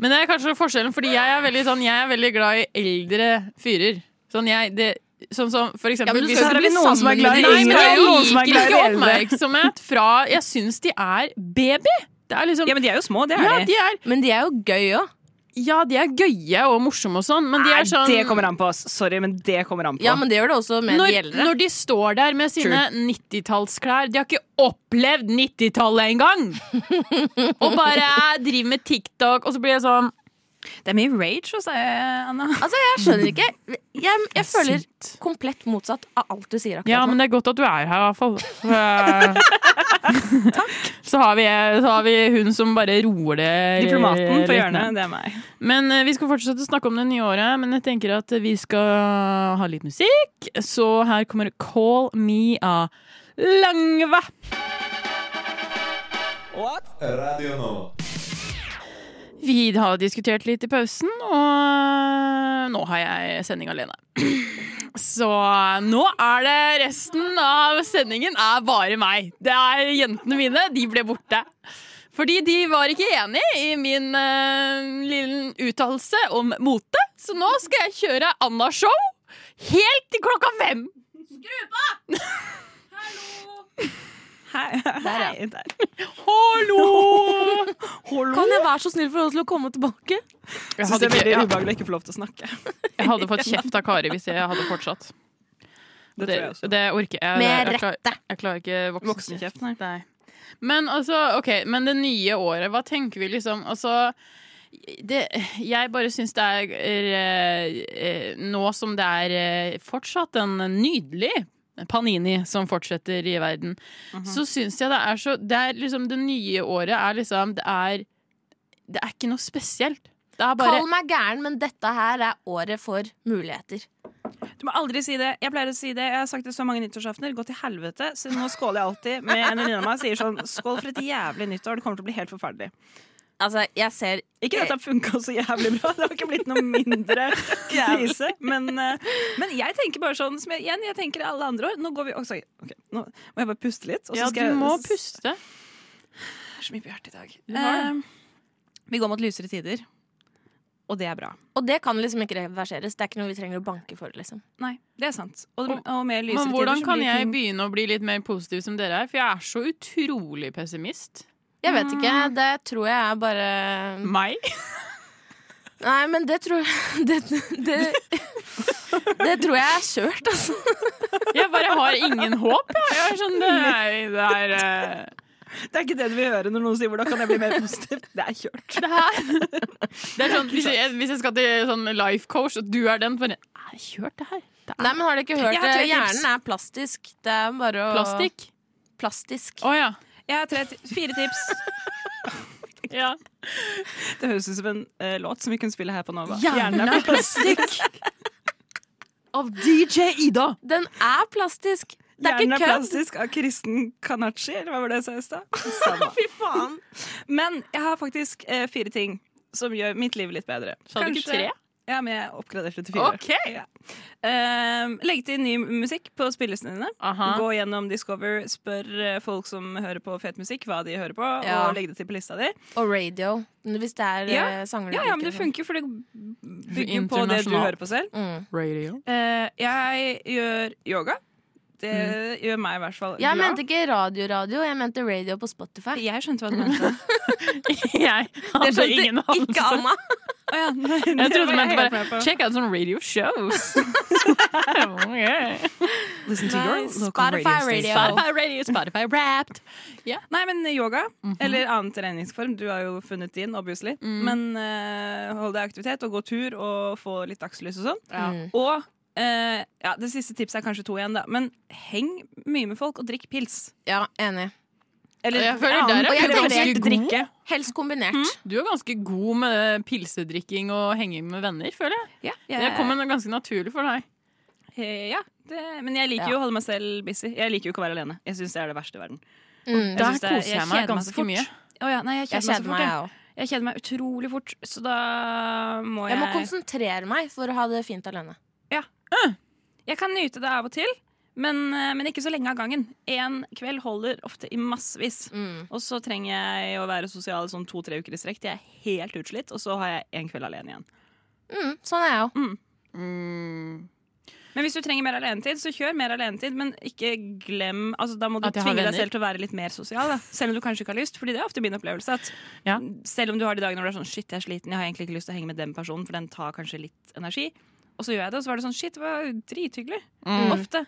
Men det er kanskje forskjellen, fordi jeg er veldig, sånn, jeg er veldig glad i eldre fyrer. Sånn, jeg, det, sånn som for eksempel
men du
hvis-
skal ikke bli
noen som er glad i
Nei, men
yngre,
jeg
og noen som er
liker
glad i
ikke
eldre.
oppmerksomhet fra Jeg syns de er baby. Det er liksom
Ja, men de er jo små, det er
ja,
de.
de er,
Men de er jo gøy òg.
ja, de er gøye og morsomme og sånn, men de er sånn
Det kommer an på oss. Sorry, men det kommer an på.
Ja, men det gjør det også med de
når,
eldre.
når de står der med sine 90-tallsklær De har ikke opplevd 90-tallet engang! og bare driver med TikTok, og så blir jeg sånn
Det er mye rage hos deg, Anna.
Altså, jeg skjønner ikke. Jeg, jeg føler komplett motsatt av alt du sier akkurat
Ja, men
nå.
det er godt at du er her, i hvert fall. Takk. Så har, vi, så har vi hun som bare roer det
Diplomaten
litt
på
ned.
hjørnet, det er meg.
Men eh, vi skal fortsette å snakke om det nye året, men jeg tenker at vi skal ha litt musikk. Så her kommer Call Me av Langva. Vi har diskutert litt i pausen, og nå har jeg sending alene. Så nå er det resten av sendingen er bare meg. Det er jentene mine. De ble borte. Fordi de var ikke enig i min eh, lille uttalelse om mote. Så nå skal jeg kjøre Anna-show helt til klokka fem.
Hei, hei, der.
Hallo!
Kan jeg være så snill for oss til å komme tilbake?
Jeg
Syns
hadde,
det er veldig
ikke, jeg,
ubehagelig å ikke få lov til å snakke.
jeg hadde fått kjeft av Kari hvis jeg hadde fortsatt.
Det
Det,
tror jeg også.
det orker jeg.
Med
jeg, klarer- jeg klarer ikke voksenkjeft.
Voksenkjeft, nei.
Men altså, ok, men det nye året, hva tenker vi liksom? Altså, det, jeg bare syns det er eh, eh, Nå som det er eh, fortsatt en nydelig Panini som fortsetter i verden,
Mhm.
så syns jeg det er så Det er liksom det nye året er liksom Det er, det er ikke noe spesielt. Det er bare
Kall meg gæren, men dette her er året for muligheter.
Du må aldri si det. Jeg pleier å si det. Jeg har sagt det så mange nyttårsaftener. Gå til helvete. Så nå skåler jeg alltid med en venninne av meg og sier sånn Skål for et jævlig nyttår. Det kommer til å bli helt forferdelig.
Altså, jeg ser
Ikke at dette funka så jævlig bra. Det har ikke blitt noe mindre krise. Men, eh, men jeg tenker bare sånn som jeg, igjen, jeg tenker alle andre år. Nå går vi også, ok, nå må jeg bare puste litt. og så
Ja,
skal
du
jeg-
må puste.
Det er så mye på hjertet i dag.
har
Eh, vi går mot lysere tider. Og det er bra.
Og det kan liksom ikke reverseres. Det er ikke noe vi trenger å banke for, liksom.
Nei, det er sant. Og, og med lysere
Men hvordan
tider så
kan
blir
jeg
ting-
begynne å bli litt mer positiv som dere er? For jeg er så utrolig pessimist.
Jeg vet ikke. Det tror jeg er bare
Mm.
Meg?
Nei, men det tror jeg Det, det, det tror jeg er kjørt, altså.
Jeg bare har ingen håp. Jeg, jeg er sånn, det er, det er, eh,
Det er ikke det du vil høre når noen sier 'hvordan kan jeg bli mer positiv'? Det er kjørt.
det her. Det er sånn, hvis, jeg, hvis jeg skal til sånn life coach, og du er den, bare er det kjørt det her? Det er
Nei, men har dere ikke hørt
Jeg har tre
det?
tips.
Hjernen er plastisk. Det er bare å
plastikk.
Plastisk.
Å ja.
Jeg har tre, fire tips.
ja.
Det høres ut som en eh, låt som vi kunne spille her på Nova.
Hjernen er plastikk. Av DJ Ida.
Den er plastisk! Det er
Hjernen er
ikke kødd!
plastisk av Kristen Kanachi, eller hva var det jeg sa i stad? Samme. Fy faen. Men jeg har faktisk eh, fire ting som gjør mitt liv litt bedre.
Sa du ikke
Kanskje-
tre?
Ja, men jeg oppgraderte til fire.
Ok.
Ja. Eh, legg til ny musikk på spillelistene dine.
Aha.
Gå gjennom Discover, spør eh, folk som hører på fet musikk, hva de hører på,
Ja.
og legg det til på lista di.
Og radio. Hvis det er
Ja.
eh, sanger du
Ja, ja, men det
liker.
funker, for det bygger jo på det du
Internasjonal.
hører på selv.
Mm.
Radio.
Eh, jeg gjør yoga. Det gjør meg i hvert fall
Jeg
glad.
mente ikke radio-radio, jeg mente radio på Spotify.
Jeg skjønte hva du mente.
Jeg hadde ingen
ikke
anelse.
Anna.
Å ja, nei, det
Jeg trodde
var
man
jeg helt
bare
med på.
Check out some radio shows. okay.
Nei, Spotify radio.
Spotify radio, Spotify wrapped.
Nei, men yoga,
Mhm.
eller annen treningsform. Du har jo funnet din, obviously.
Mm.
Men eh, hold deg i aktivitet, og gå tur, og få litt dagslys og sånn.
Mm.
Og eh, ja, det siste tipset er kanskje to igjen, da. Men heng mye med folk, og drikk pils.
Ja, enig.
Eller
Jeg føler der er
Og jeg
du
tenker
ganske
helt
god.
drikke.
Helst kombinert.
Du er ganske god med pilsedrikking og henging med venner, føler jeg.
Ja,
Det kommer ganske naturlig for deg.
Eh, ja, det, men jeg liker jo å holde meg selv busy. Jeg liker jo ikke å være alene. Jeg syns det er det verste i verden.
Mm.
Der
synes det er-
koser jeg meg
kjeder så
ganske
fort.
mye.
Å ja, nei, jeg
Jeg
kjeder meg så
kjeder
fort.
meg,
Jeg.
jeg òg.
jeg kjeder meg utrolig fort, så da må jeg
Jeg må konsentrere meg for å ha det fint alene.
Jeg kan nyte det av og til, men, eh, men ikke så lenge av gangen. Én kveld holder ofte i massevis.
Mm.
Og så trenger jeg å være sosial sånn to-tre uker i strekk til jeg er helt utslitt, og så har jeg en kveld alene igjen.
Mm, sånn er jeg òg.
Mm.
Men hvis du trenger mer alenetid, så kjør mer alenetid, men ikke glem altså, Da må du
At jeg har
tvinge deg
venner.
selv til å være litt mer sosial, da. selv om du kanskje ikke har lyst. Fordi det er ofte min opplevelse at
Ja.
selv om du har de dagene hvor du er sånn shit, jeg er sliten, jeg har egentlig ikke lyst til å henge med den personen, for den tar kanskje litt energi. Og så gjør jeg det, og så var det sånn shit, det var drithyggelig.
Mm.
Ofte.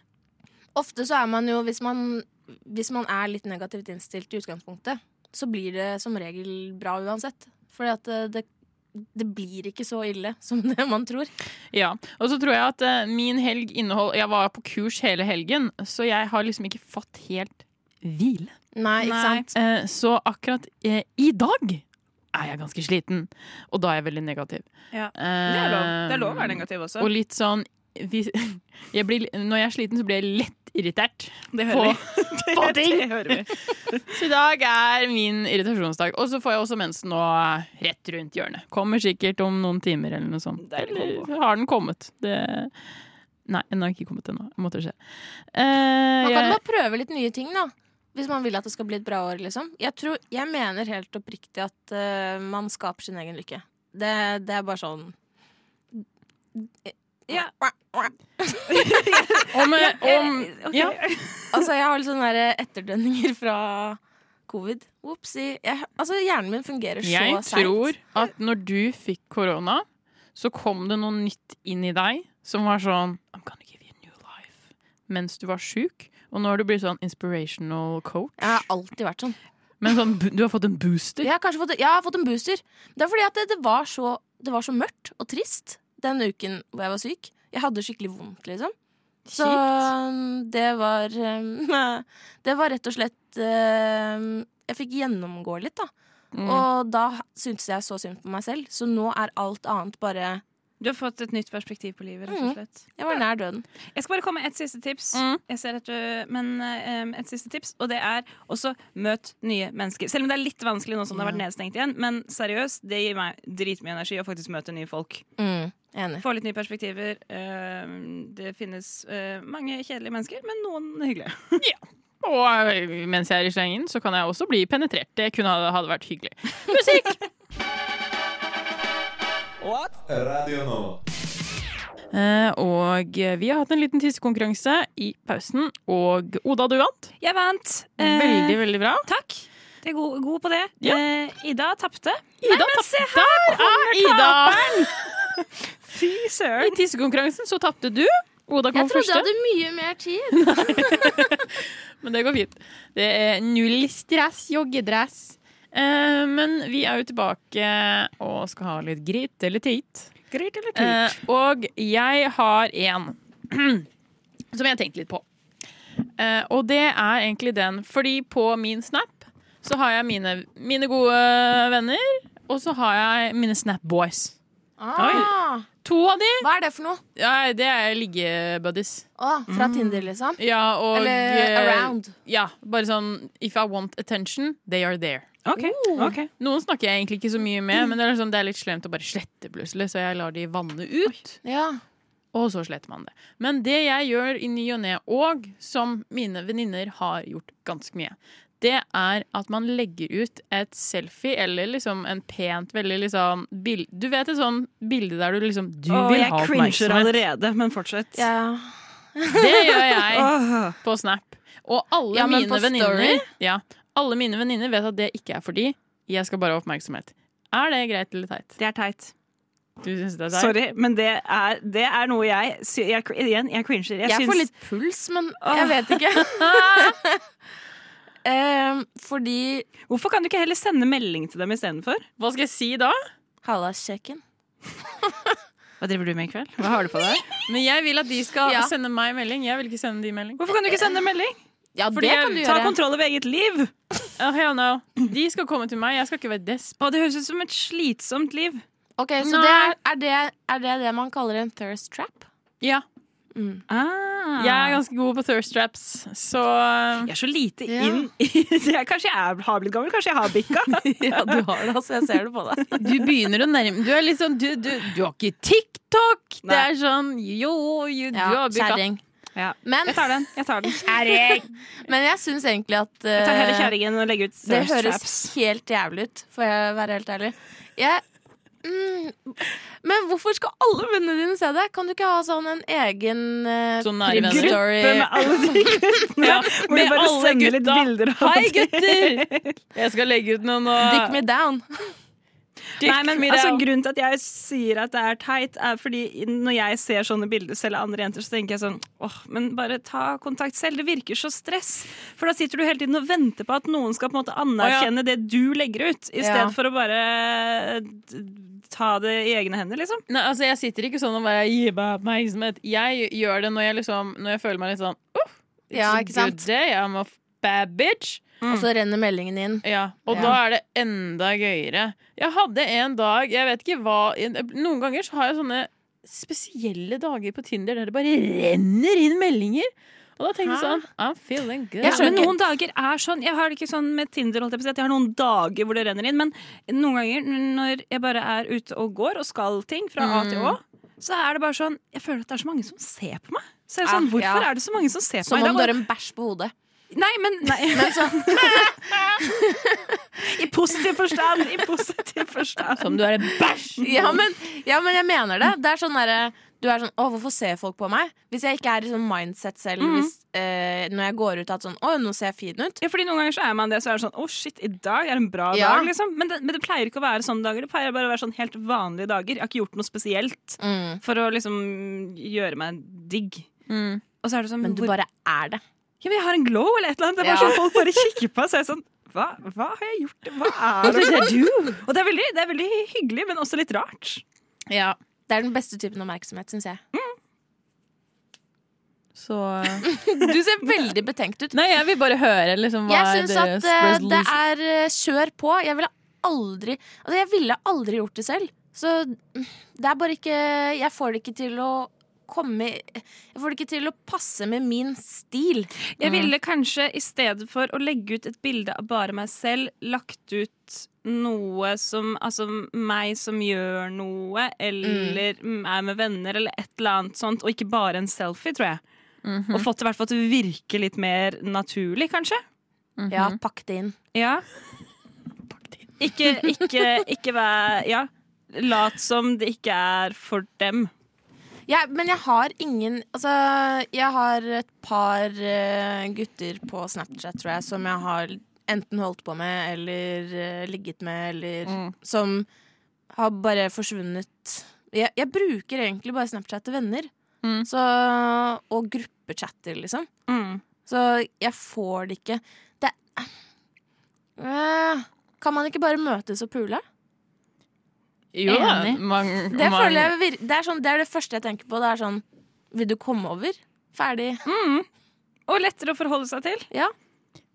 Ofte så er man jo, hvis man, hvis man er litt negativt innstilt i utgangspunktet, så blir det som regel bra uansett. Fordi at eh, det, det blir ikke så ille som det man tror.
Ja, og så tror jeg at eh, min helg innehold Jeg var på kurs hele helgen, så jeg har liksom ikke fått helt hvile.
Nei, ikke
Nei.
sant?
Eh, så akkurat eh, i dag er jeg ganske sliten, og da er jeg veldig negativ.
Ja.
Eh,
Det er lov. Det er lov å være negativ også.
Og litt sånn vi, jeg blir, Når jeg er sliten, så blir jeg lett irritert.
Det
på-
vi. Det-
på ting.
Det hører vi.
Så i dag er min irritasjonsdag. Og så får jeg også mensen nå eh, rett rundt hjørnet. Kommer sikkert om noen timer eller noe sånt.
Deilig
Eller
kombo.
har den kommet? Det Nei, den har ikke kommet ennå. Måtte skje. Eh,
Man kan
jeg,
bare prøve litt nye ting, da. Hvis man vil at det skal bli et bra år, liksom. Jeg, tror, jeg mener helt oppriktig at eh, man skaper sin egen lykke. Det, det er bare sånn
Ja.
om, eh, om
Ok.
ja,
Altså, jeg har litt sånne der etterdønninger fra covid. Whoopsie. Jeg, altså, hjernen min fungerer så
Jeg
seint.
tror at når du fikk korona, så kom det noe nytt inn i deg som var sånn I'm gonna give you a new life. Mens du var sjuk. Og nå har du blitt sånn inspirational coach.
Jeg har alltid vært sånn.
Men sånn, bu- du har fått en booster.
Jeg har kanskje fått, jeg har fått en booster. Det er fordi at det, det, var så, det var så mørkt og trist den uken hvor jeg var syk. Jeg hadde skikkelig vondt, liksom. Så um, det var um, Det var rett og slett um, Jeg fikk gjennomgå litt, da.
Mm.
Og da syntes jeg så synd på meg selv, så nå er alt annet bare
Du har fått et nytt perspektiv på livet, rett
Mm.
og slett.
Jeg var nær døden.
Jeg skal bare komme med et siste tips.
Mm.
Jeg ser at du, men eh, em, et siste tips Og det er også møt nye mennesker. Selv om det er litt vanskelig nå som det har vært nedstengt igjen. Men seriøst, det gir meg dritmye energi å faktisk møte nye folk.
Mm, Enig.
Få litt nye perspektiver. Em, det finnes eh, mange kjedelige mennesker, men noen hyggelige.
Og eh, mens jeg er i slengen, så kan jeg også bli penetrert. Det kunne ha- hadde vært hyggelig. Musikk! Eh, og eh, vi har hatt en liten tissekonkurranse i pausen, og Oda, du vant.
Jeg vant. Eh,
Veldig, veldig bra.
Takk. Det er god, god på det.
Ja.
Eh, Ida tapte.
Ida tapte. Der er Ida!
Fy
I
søren.
tissekonkurransen så tapte du. Oda kom
Jeg trodde jeg
første.
hadde mye mer tid.
Men det går fint. Det er null stress, joggedress. Eh, men vi er jo tilbake og skal ha litt grit eller tit.
Gryt eller
Eh, og jeg har en som jeg har tenkt litt på. Eh, og det er egentlig den, fordi på min Snap så har jeg mine, mine gode venner, og så har jeg mine Snap Boys.
Ah,
To av de
hva er det for noe?
ja, det er liggebuddies.
Å, fra Tinder, liksom?
Ja, Mm. og
Eller
eh,
around.
Ja, bare sånn If I want attention, they are there.
OK.
Oh.
ok.
Noen snakker jeg egentlig ikke så mye med, men det er, liksom, det er litt slemt å bare slette plutselig, så jeg lar de vanne ut.
Ja.
Og så sletter man det. Men det jeg gjør i ny og ne, og som mine venninner har gjort ganske mye, det er at man legger ut et selfie eller liksom en pent, veldig liksom bil- Du vet et sånn bilde der du liksom Du
Å,
vil
jeg
ha
cringer
oppmerksomhet.
allerede, men fortsett.
ja.
Det gjør jeg
Åh.
på Snap. Og alle
Ja, men
mine
på
venninner
Story?
ja, Alle mine venninner vet at det ikke er fordi jeg skal bare ha oppmerksomhet. Er det greit eller teit?
Det er teit.
Du synes det er teit?
Sorry, men det er, det er noe jeg, sy jeg Igjen, jeg cringer. Jeg,
Jeg
syns
får litt puls, men jeg vet ikke. Em, fordi
Hvorfor kan du ikke heller sende melding til dem istedenfor?
Hva skal jeg si da?
Hallasjekken.
Hva driver du med i kveld? Hva har du på deg?
Men jeg vil at de skal
Ja.
sende meg melding. Jeg vil ikke sende de melding.
Hvorfor kan du ikke sende melding?
Ja,
Fordi
det
jeg-
kan du
Ta
gjøre.
kontroll over eget liv!
Oh, hell no. De skal komme til meg. Jeg skal ikke være desp.
Å, det høres ut som et slitsomt liv.
Ok, så
Nei.
det er, er, det, er det det man kaller en thirst trap?
Ja.
Ah.
Jeg er ganske god på thirst traps, så
Jeg er så lite
Ja.
inn i jeg, Kanskje jeg er, har blitt gammel, kanskje jeg har bikka.
Ja, du har det, altså. Jeg ser det på deg.
du begynner å nærme Du er litt sånn Du, du, du har ikke TikTok! Det
Nei.
er sånn Jo, jo du
Ja,
har bygga
Kjerring.
Ja.
Men,
Jeg tar den. Jeg tar den.
men jeg syns egentlig at
Jeg tar hele
eh,
kjerringen og legger ut
det
thirst
høres
traps.
helt jævlig ut, får jeg være helt ærlig. Jeg, mm, men hvorfor skal alle vennene dine se det? Kan du ikke ha sånn en egen eh,
Sånn nære
prim
venner.
story?
Hvem er alle de guttene?
Ja,
Hvor du
med
bare
alle
sender litt
gutta.
bilder av
Hei,
de.
gutter! Jeg skal legge ut eh, noe nå.
Dick me down.
Nei, men
me
altså,
down.
Grunnen til at jeg sier at det er teit, er fordi når jeg ser sånne bilder selv av andre jenter, så tenker jeg sånn åh, men bare ta kontakt selv. Det virker så stress. For da sitter du hele tiden og venter på at noen skal på en måte anerkjenne det du legger ut, i stedet
Ja.
for å bare d- ta det i egne hender, liksom.
Nei, altså Jeg sitter ikke sånn og bare gir meg oppmerksomhet. Jeg gjør det når jeg liksom Når jeg føler meg litt sånn uh, It's
Ja,
a
ikke sant?
good day, I'm a bad bitch.
Og så Altså, renner meldingen inn.
Ja, og
Ja.
da er det enda gøyere. Jeg hadde en dag Jeg vet ikke hva Noen ganger så har jeg sånne spesielle dager på Tinder der det bare renner inn meldinger. Og da tenker jeg sånn I'm feeling good.
Jeg
Ja, men noen dager er sånn Jeg har det ikke sånn med Tinder, holdt jeg på å si. at Jeg har noen dager hvor det renner inn. Men noen ganger når jeg bare er ute og går og skal ting fra A til
Mm.
Å, så er det bare sånn Jeg føler at det er så mange som ser på meg. Så er det sånn,
Ja,
Hvorfor
Ah, ja.
er det så mange som ser på
Som
meg?
om du har en bæsj på hodet.
Nei, men nei. I positiv forstand! I positiv forstand.
Som du er en bæsj!
Ja men, ja, men jeg mener det. Det er sånn derre Du er sånn Å, hvorfor ser folk på meg? Hvis jeg ikke er i sånn mindset selv hvis, eh, når jeg går ut at sånn Å, nå ser jeg fin ut.
Ja, fordi Noen ganger så er man det, så er det sånn Å, shit, i dag er en bra
Ja.
dag, liksom. Men det, men det pleier ikke å være sånne dager. Det pleier bare å være sånn helt vanlige dager. Jeg har ikke gjort noe spesielt
Mm.
for å liksom gjøre meg digg. Og så er det sånn
Men du
hvor-
bare er det.
Ja, men jeg har en glow eller et eller annet. Det er bare
Ja.
sånn folk bare kikker på, så er jeg sånn hva, hva har jeg gjort? Hva er det? Og det er, veldig, det er veldig hyggelig, men også litt rart.
Ja,
Det er den beste typen oppmerksomhet, syns jeg.
Så eh,
Du ser veldig betenkt ut.
Nei, jeg vil bare høre liksom hva
Jeg syns
deres
at eh, det
resolution-
er eh, kjør på. Jeg ville aldri Altså, jeg ville aldri gjort det selv. Så mm, det er bare ikke Jeg får det ikke til å komme Jeg får det ikke til å passe med min stil.
Jeg ville kanskje i stedet for å legge ut et bilde av bare meg selv, lagt ut noe som Altså meg som gjør noe, eller mm. er med venner, eller et eller annet sånt, og ikke bare en selfie, tror jeg. Og fått det i hvert fall til å virke litt mer naturlig, kanskje.
Ja, pakk det inn.
Ja. Ikke, ikke, ikke vær Ja. Lat som det ikke er for dem.
Jeg- men jeg har ingen Altså, jeg har et par eh, gutter på Snapchat, tror jeg, som jeg har enten holdt på med eller eh, ligget med, eller
Mm.
som har bare forsvunnet. Jeg, jeg bruker egentlig bare Snapchat til venner.
Mm.
Så, og gruppechatter, liksom.
Mm.
Så jeg får det ikke. Det Eh, Kan man ikke bare møtes og pule?
Jo da,
Enig.
man,
Det,
man,
føler jeg vir det, er sånn, det er det første jeg tenker på. Det er sånn Vil du komme over? Ferdig.
Og lettere å forholde seg til.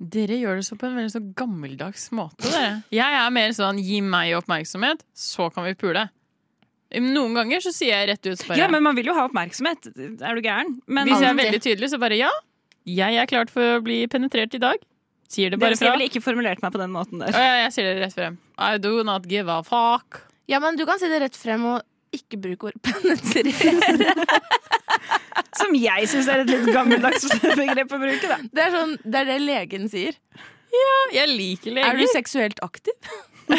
Dere gjør det så på en veldig så gammeldags måte. Dere. Jeg er mer sånn gi meg oppmerksomhet, så kan vi pule. Noen ganger så sier jeg rett ut bare
Ja, men man vil jo ha oppmerksomhet. Er du gæren? Men
Hvis
altså,
jeg er
Alltid.
veldig tydelig, så bare ja. Jeg er klart for å bli penetrert i dag. Sier det bare
Dere ser
fra.
vel ikke formulert meg på den måten
Å,
der.
ja, jeg sier det rett frem. I do not give a fuck.
Ja, men du kan si det rett frem og ikke bruke ordet penetrere.
Som jeg syns er et litt gammeldags begrep å bruke, da.
Det er, sånn, det er det legen sier.
Jeg liker
Er
leger.
du seksuelt aktiv?
Når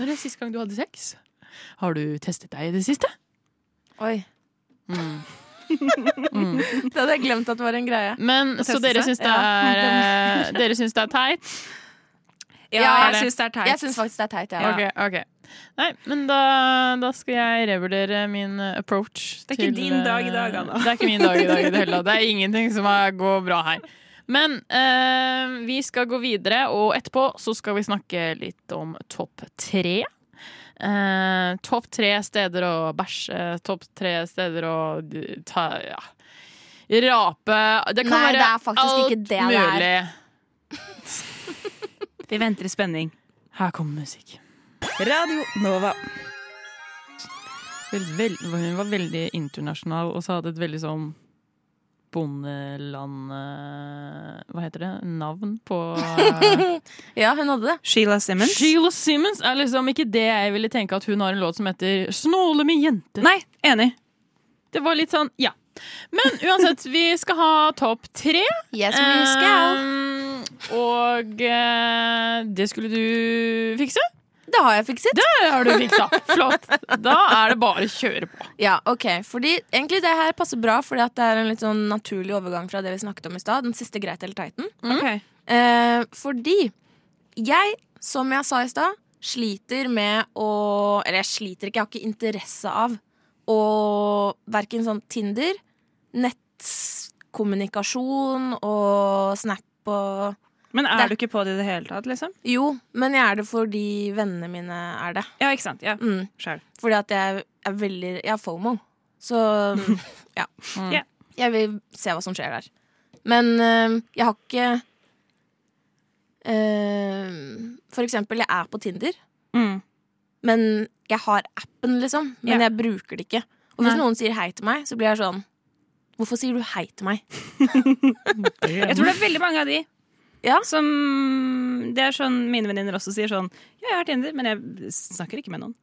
er det sist gang du hadde sex? Har du testet deg i det siste?
Oi.
Mm.
Det hadde jeg glemt at det var en greie.
Men, så
teste
dere
seg?
syns det er eh, Dere syns det er teit?
Ja,
Ja,
jeg syns det er
Jeg
teit.
syns faktisk det er teit. Ja.
Ok, ok. Nei, men da, da skal jeg revurdere min eh, approach.
Det er ikke din dag i dag,
eh,
Anna.
Det er ikke min dag i dag i det hele tatt. Det er ingenting som er, går bra her. Men eh, vi skal gå videre, og etterpå så skal vi snakke litt om topp tre. Eh, topp tre steder å bæsje, topp tre steder å d- ta ja. Rape Det kan
Nei, det
være
er faktisk
alt
ikke det det er.
mulig.
Vi venter i spenning.
Her kommer musikk.
Radio Nova.
Vel, vel, hun var veldig internasjonal og så hadde et veldig sånn bondeland... eh, Hva heter det? Navn på eh,
ja, hun hadde det.
Sheila Simmons.
Sheila Simmons er liksom ikke det jeg ville tenke at hun har en låt som heter 'Snåle med jenter'.
Nei, enig.
Det var litt sånn, ja. Men uansett, vi skal ha topp tre.
Yes, we skal.
Ehm, og eh, det skulle du fikse?
Eh, Det har jeg fikset.
Det har du fiksa. Flott. Da er det bare å kjøre på.
Ja, ok. Fordi egentlig det her passer bra, fordi at det er en litt sånn naturlig overgang fra det vi snakket om i stad. Den siste greit eller teiten.
Ok.
Eh, fordi jeg, som jeg sa i stad, sliter med å Eller jeg sliter ikke, jeg har ikke interesse av å verken sånn Tinder, nettkommunikasjon og Snap og
Men
Det-
er du ikke på det i det hele tatt, liksom?
Jo, men jeg er det fordi vennene mine er det.
Ja, ikke sant. Ja.
Mm.
Skjøl.
Fordi at jeg er veldig Jeg har fomo. Så ja.
Ja.
Jeg vil se hva som skjer der. Men eh, jeg har ikke eh, For eksempel, jeg er på Tinder,
Mm.
men jeg har appen, liksom. Men
Ja.
jeg bruker det ikke. Og hvis
Nei.
noen sier hei til meg, så blir jeg sånn Hvorfor sier du hei til meg?
Jeg tror det er veldig mange av de
Ja.
som Det er sånn mine venninner også sier sånn Ja, jeg har Tinder, men jeg snakker ikke med noen.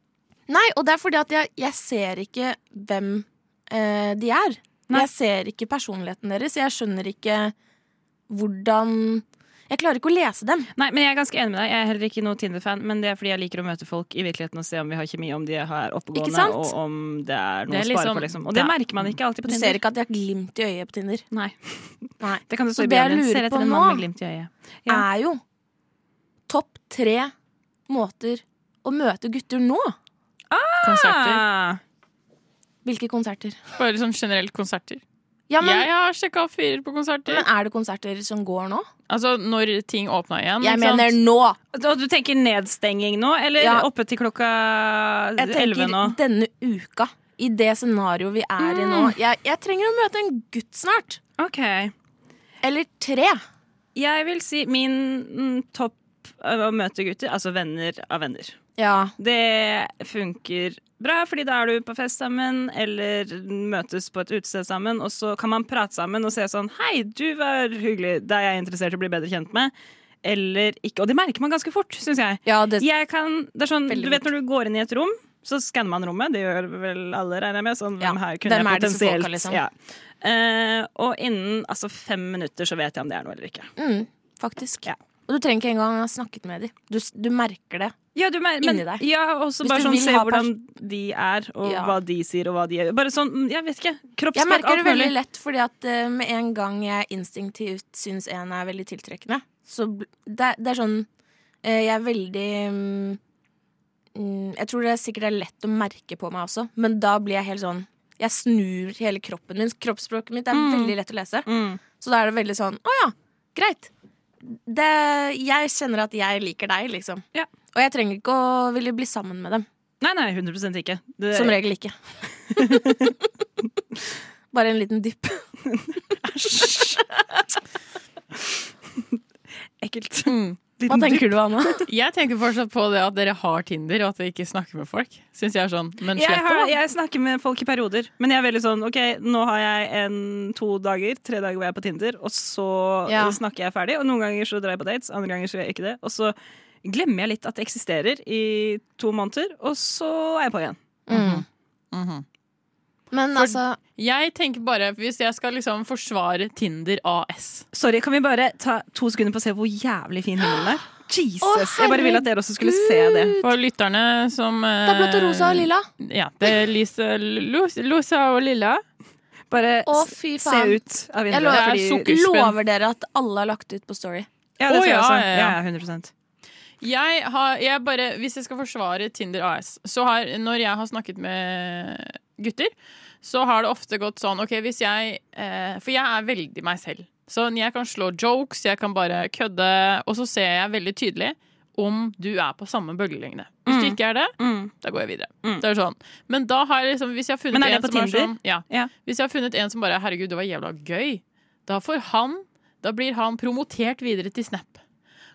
Nei, og det er fordi at jeg, jeg ser ikke hvem eh, de er.
Nei.
Jeg ser ikke personligheten deres. Jeg skjønner ikke hvordan Jeg klarer ikke å lese dem.
Nei, men Jeg er ganske enig med deg. Jeg er heller ikke noe Tinder-fan, men det er fordi jeg liker å møte folk i virkeligheten og se om vi har kjemi, om de er
Ikke
oppegående,
sant?
og om det er noe
Det er
å spare
liksom-
på. liksom. Og
Ja.
det merker man ikke alltid på
Du
Tinder.
ser ikke at de har glimt i øyet på Tinder.
Nei.
Nei.
Det kan det
Så
stå i
det jeg
bjørnen.
lurer
Ser
på
etter en mann
nå-
med glimt i øyet. Ja.
Er jo topp tre måter å møte gutter nå.
Konserter.
Ah,
Hvilke konserter?
Bare sånn generelt konserter.
Ja, men,
jeg har sjekka opp fyrer på konserter.
men er det konserter som går nå?
altså når ting åpna igjen.
Jeg
ikke sant?
mener nå!
Og du tenker nedstenging nå, eller
Ja.
oppe til klokka
Jeg
elleve
tenker
nå?
denne uka. i det scenarioet vi er i nå. Jeg, jeg trenger å møte en gutt snart.
Ok.
Eller tre.
Jeg vil si min mm, topp av å møte gutter, altså venner av venner.
Ja.
Det funker bra, fordi da er du på fest sammen, eller møtes på et utested sammen, og så kan man prate sammen og se sånn Hei, du var hyggelig, det er jeg interessert i å bli bedre kjent med. Eller ikke. Og det merker man ganske fort, syns jeg.
ja det,
Jeg kan, det er sånn,
Veldig
du vet når du går inn i et rom, så skanner man rommet. Det gjør vel alle, regner jeg med. Sånn,
Ja,
hvem her kunne
hvem er
jeg
disse folka,
potensielt
liksom?
ja. Eh, Og innen altså, fem minutter så vet jeg om det er noe eller ikke.
mm, faktisk.
Ja.
Og du trenger ikke engang ha snakket med dem. Du, s- du merker det.
Ja, du mer, men,
Inni deg.
Ja, og så
Hvis
bare
du
sånn
vil
se
ha
hvordan de er, og
Ja.
hva de sier, og hva de gjør. Bare sånn, mm, jeg vet ikke.
Jeg
Kroppsspråk,
merker det
alt mulig.
veldig lett, fordi at eh, med en gang jeg instinktivt syns en er veldig tiltrekkende, så bl- det, det er sånn eh, Jeg er veldig mm, mm, Jeg tror det er sikkert det er lett å merke på meg også, men da blir jeg helt sånn Jeg snur hele kroppen min. Kroppsspråket mitt er veldig lett å lese.
Mm.
Så da er det veldig sånn Å ja, greit. Det, jeg kjenner at jeg liker deg, liksom.
Ja.
Og jeg trenger ikke å ville bli sammen med dem.
Nei, nei, 100 ikke. Det,
Som regel ikke. Bare en liten dypp.
Ekkelt.
Mm. Hva tenker du, Anna?
Jeg tenker fortsatt på det at dere har Tinder, og at dere ikke snakker med folk. Synes jeg er sånn, men
Jeg,
slett
har,
det, da.
jeg snakker med folk i perioder, men jeg er veldig sånn OK, nå har jeg en, to dager, tre dager hvor jeg er på Tinder, og så
Ja.
snakker jeg ferdig. Og noen ganger så drar jeg på dates, andre ganger så gjør jeg ikke det. Og så glemmer jeg litt at det eksisterer i to måneder, og så er jeg på igjen.
Mhm.
Men altså
Jeg tenker bare, hvis jeg skal liksom forsvare Tinder AS
Sorry, kan vi bare ta to sekunder på å se hvor jævlig fin himmelen er? Jesus!
Å,
jeg bare ville at dere også skulle se det.
For lytterne som eh,
Det er mm, blått og rosa og lilla.
Ja, det er Lise, Lus, Lusa og Lilla.
Bare
Å,
s-
fy
Eh, se
faen.
ut
Jeg
av vinduet.
lover,
Det er
fordi-
sukker. Gullspenn.
lover dere at alle har lagt ut på Story.
Ja, det
Å,
tror jeg
ja,
også.
ja,
Ja,
ja.
ja, 100
Jeg har, jeg bare, hvis jeg skal forsvare Tinder AS, så har, når jeg har snakket med gutter, så har det ofte gått sånn Ok, hvis jeg eh, For jeg er veldig meg selv. Så jeg kan slå jokes, jeg kan bare kødde, og så ser jeg veldig tydelig om du er på samme bølgelengde. Hvis du
Mm.
ikke er det,
Mm.
da går jeg videre.
Mm.
Det er sånn. Men da har jeg liksom, hvis jeg har funnet
Men er det
en
på
som
Tinder?
sånn ja.
Ja.
Hvis jeg har funnet en som bare 'herregud, det var jævla gøy', da får han Da blir han promotert videre til Snap.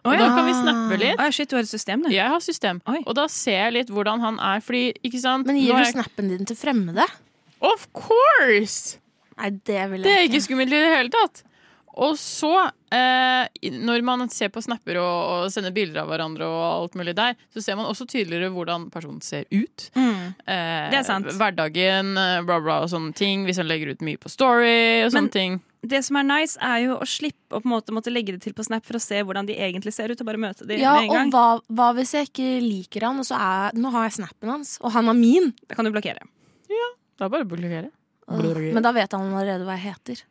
Og
Å,
da
ja.
kan vi snappe litt.
Å, shit, du har et system, du.
Jeg har system,
Oi.
og da ser jeg litt hvordan han er. Fordi, ikke sant
Men
Nå
gir
har
du
jeg...
snappen din til fremmede?
Of course!
Nei, det vil
Det er
jeg
ikke skummelt i det hele tatt. Og så, eh, når man ser på snapper og, og sender bilder av hverandre, og alt mulig der, så ser man også tydeligere hvordan personen ser ut.
Mm.
Eh,
Det er sant.
Hverdagen, eh, bla, bla, og sånne ting. Hvis han legger ut mye på Story og
Men-
sånne ting.
Det som er nice, er jo å slippe å på en måte måtte legge det til på Snap for å se hvordan de egentlig ser ut, og bare møte de
Ja,
med en
og
gang.
hva, hva hvis jeg ikke liker han, og så er Nå har jeg snappen hans, og han har min.
Da kan du blokkere.
Det er bare å blokkere.
Åh, Men da vet han allerede hva jeg heter.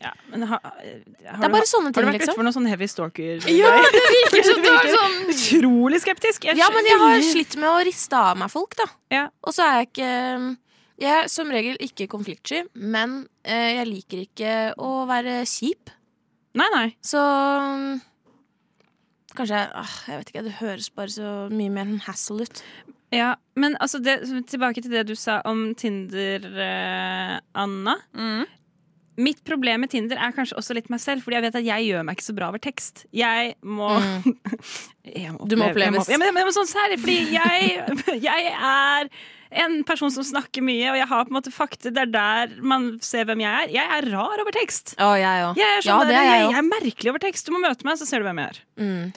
Ja, men ha, har
Det
du-
er bare sånne ting,
har du vært ute
liksom.
for noen sånn heavy stalker?
Ja, det virker som du er sånn
Utrolig skeptisk! Jeg
Ja, men jeg har
skjønner-
slitt med å riste av meg folk, da.
Ja.
Og så er jeg ikke eh, Jeg er som regel ikke konfliktsky, men eh, jeg liker ikke å være kjip.
Nei, nei.
Så mm, Kanskje jeg- ah, Jeg vet ikke, det høres bare så mye mer enn hassle ut.
Ja, men altså det, tilbake til det du sa om Tinder, eh, Anna.
Mm.
Mitt problem med Tinder er kanskje også litt meg selv, fordi jeg vet at jeg gjør meg ikke så bra over tekst. Jeg må,
Mm.
jeg må
Du må
oppleve- jeg
oppleves.
ja, men, men, men sånn særlig, fordi jeg, jeg er en person som snakker mye, og jeg har på en måte fakta. Det er der man ser hvem jeg er. Jeg er rar over tekst.
Å, jeg òg.
Jeg er, sånn
Ja, det
der,
er
jeg,
jeg
jeg er merkelig over tekst. Du må møte meg, så ser du hvem jeg er.
Mm.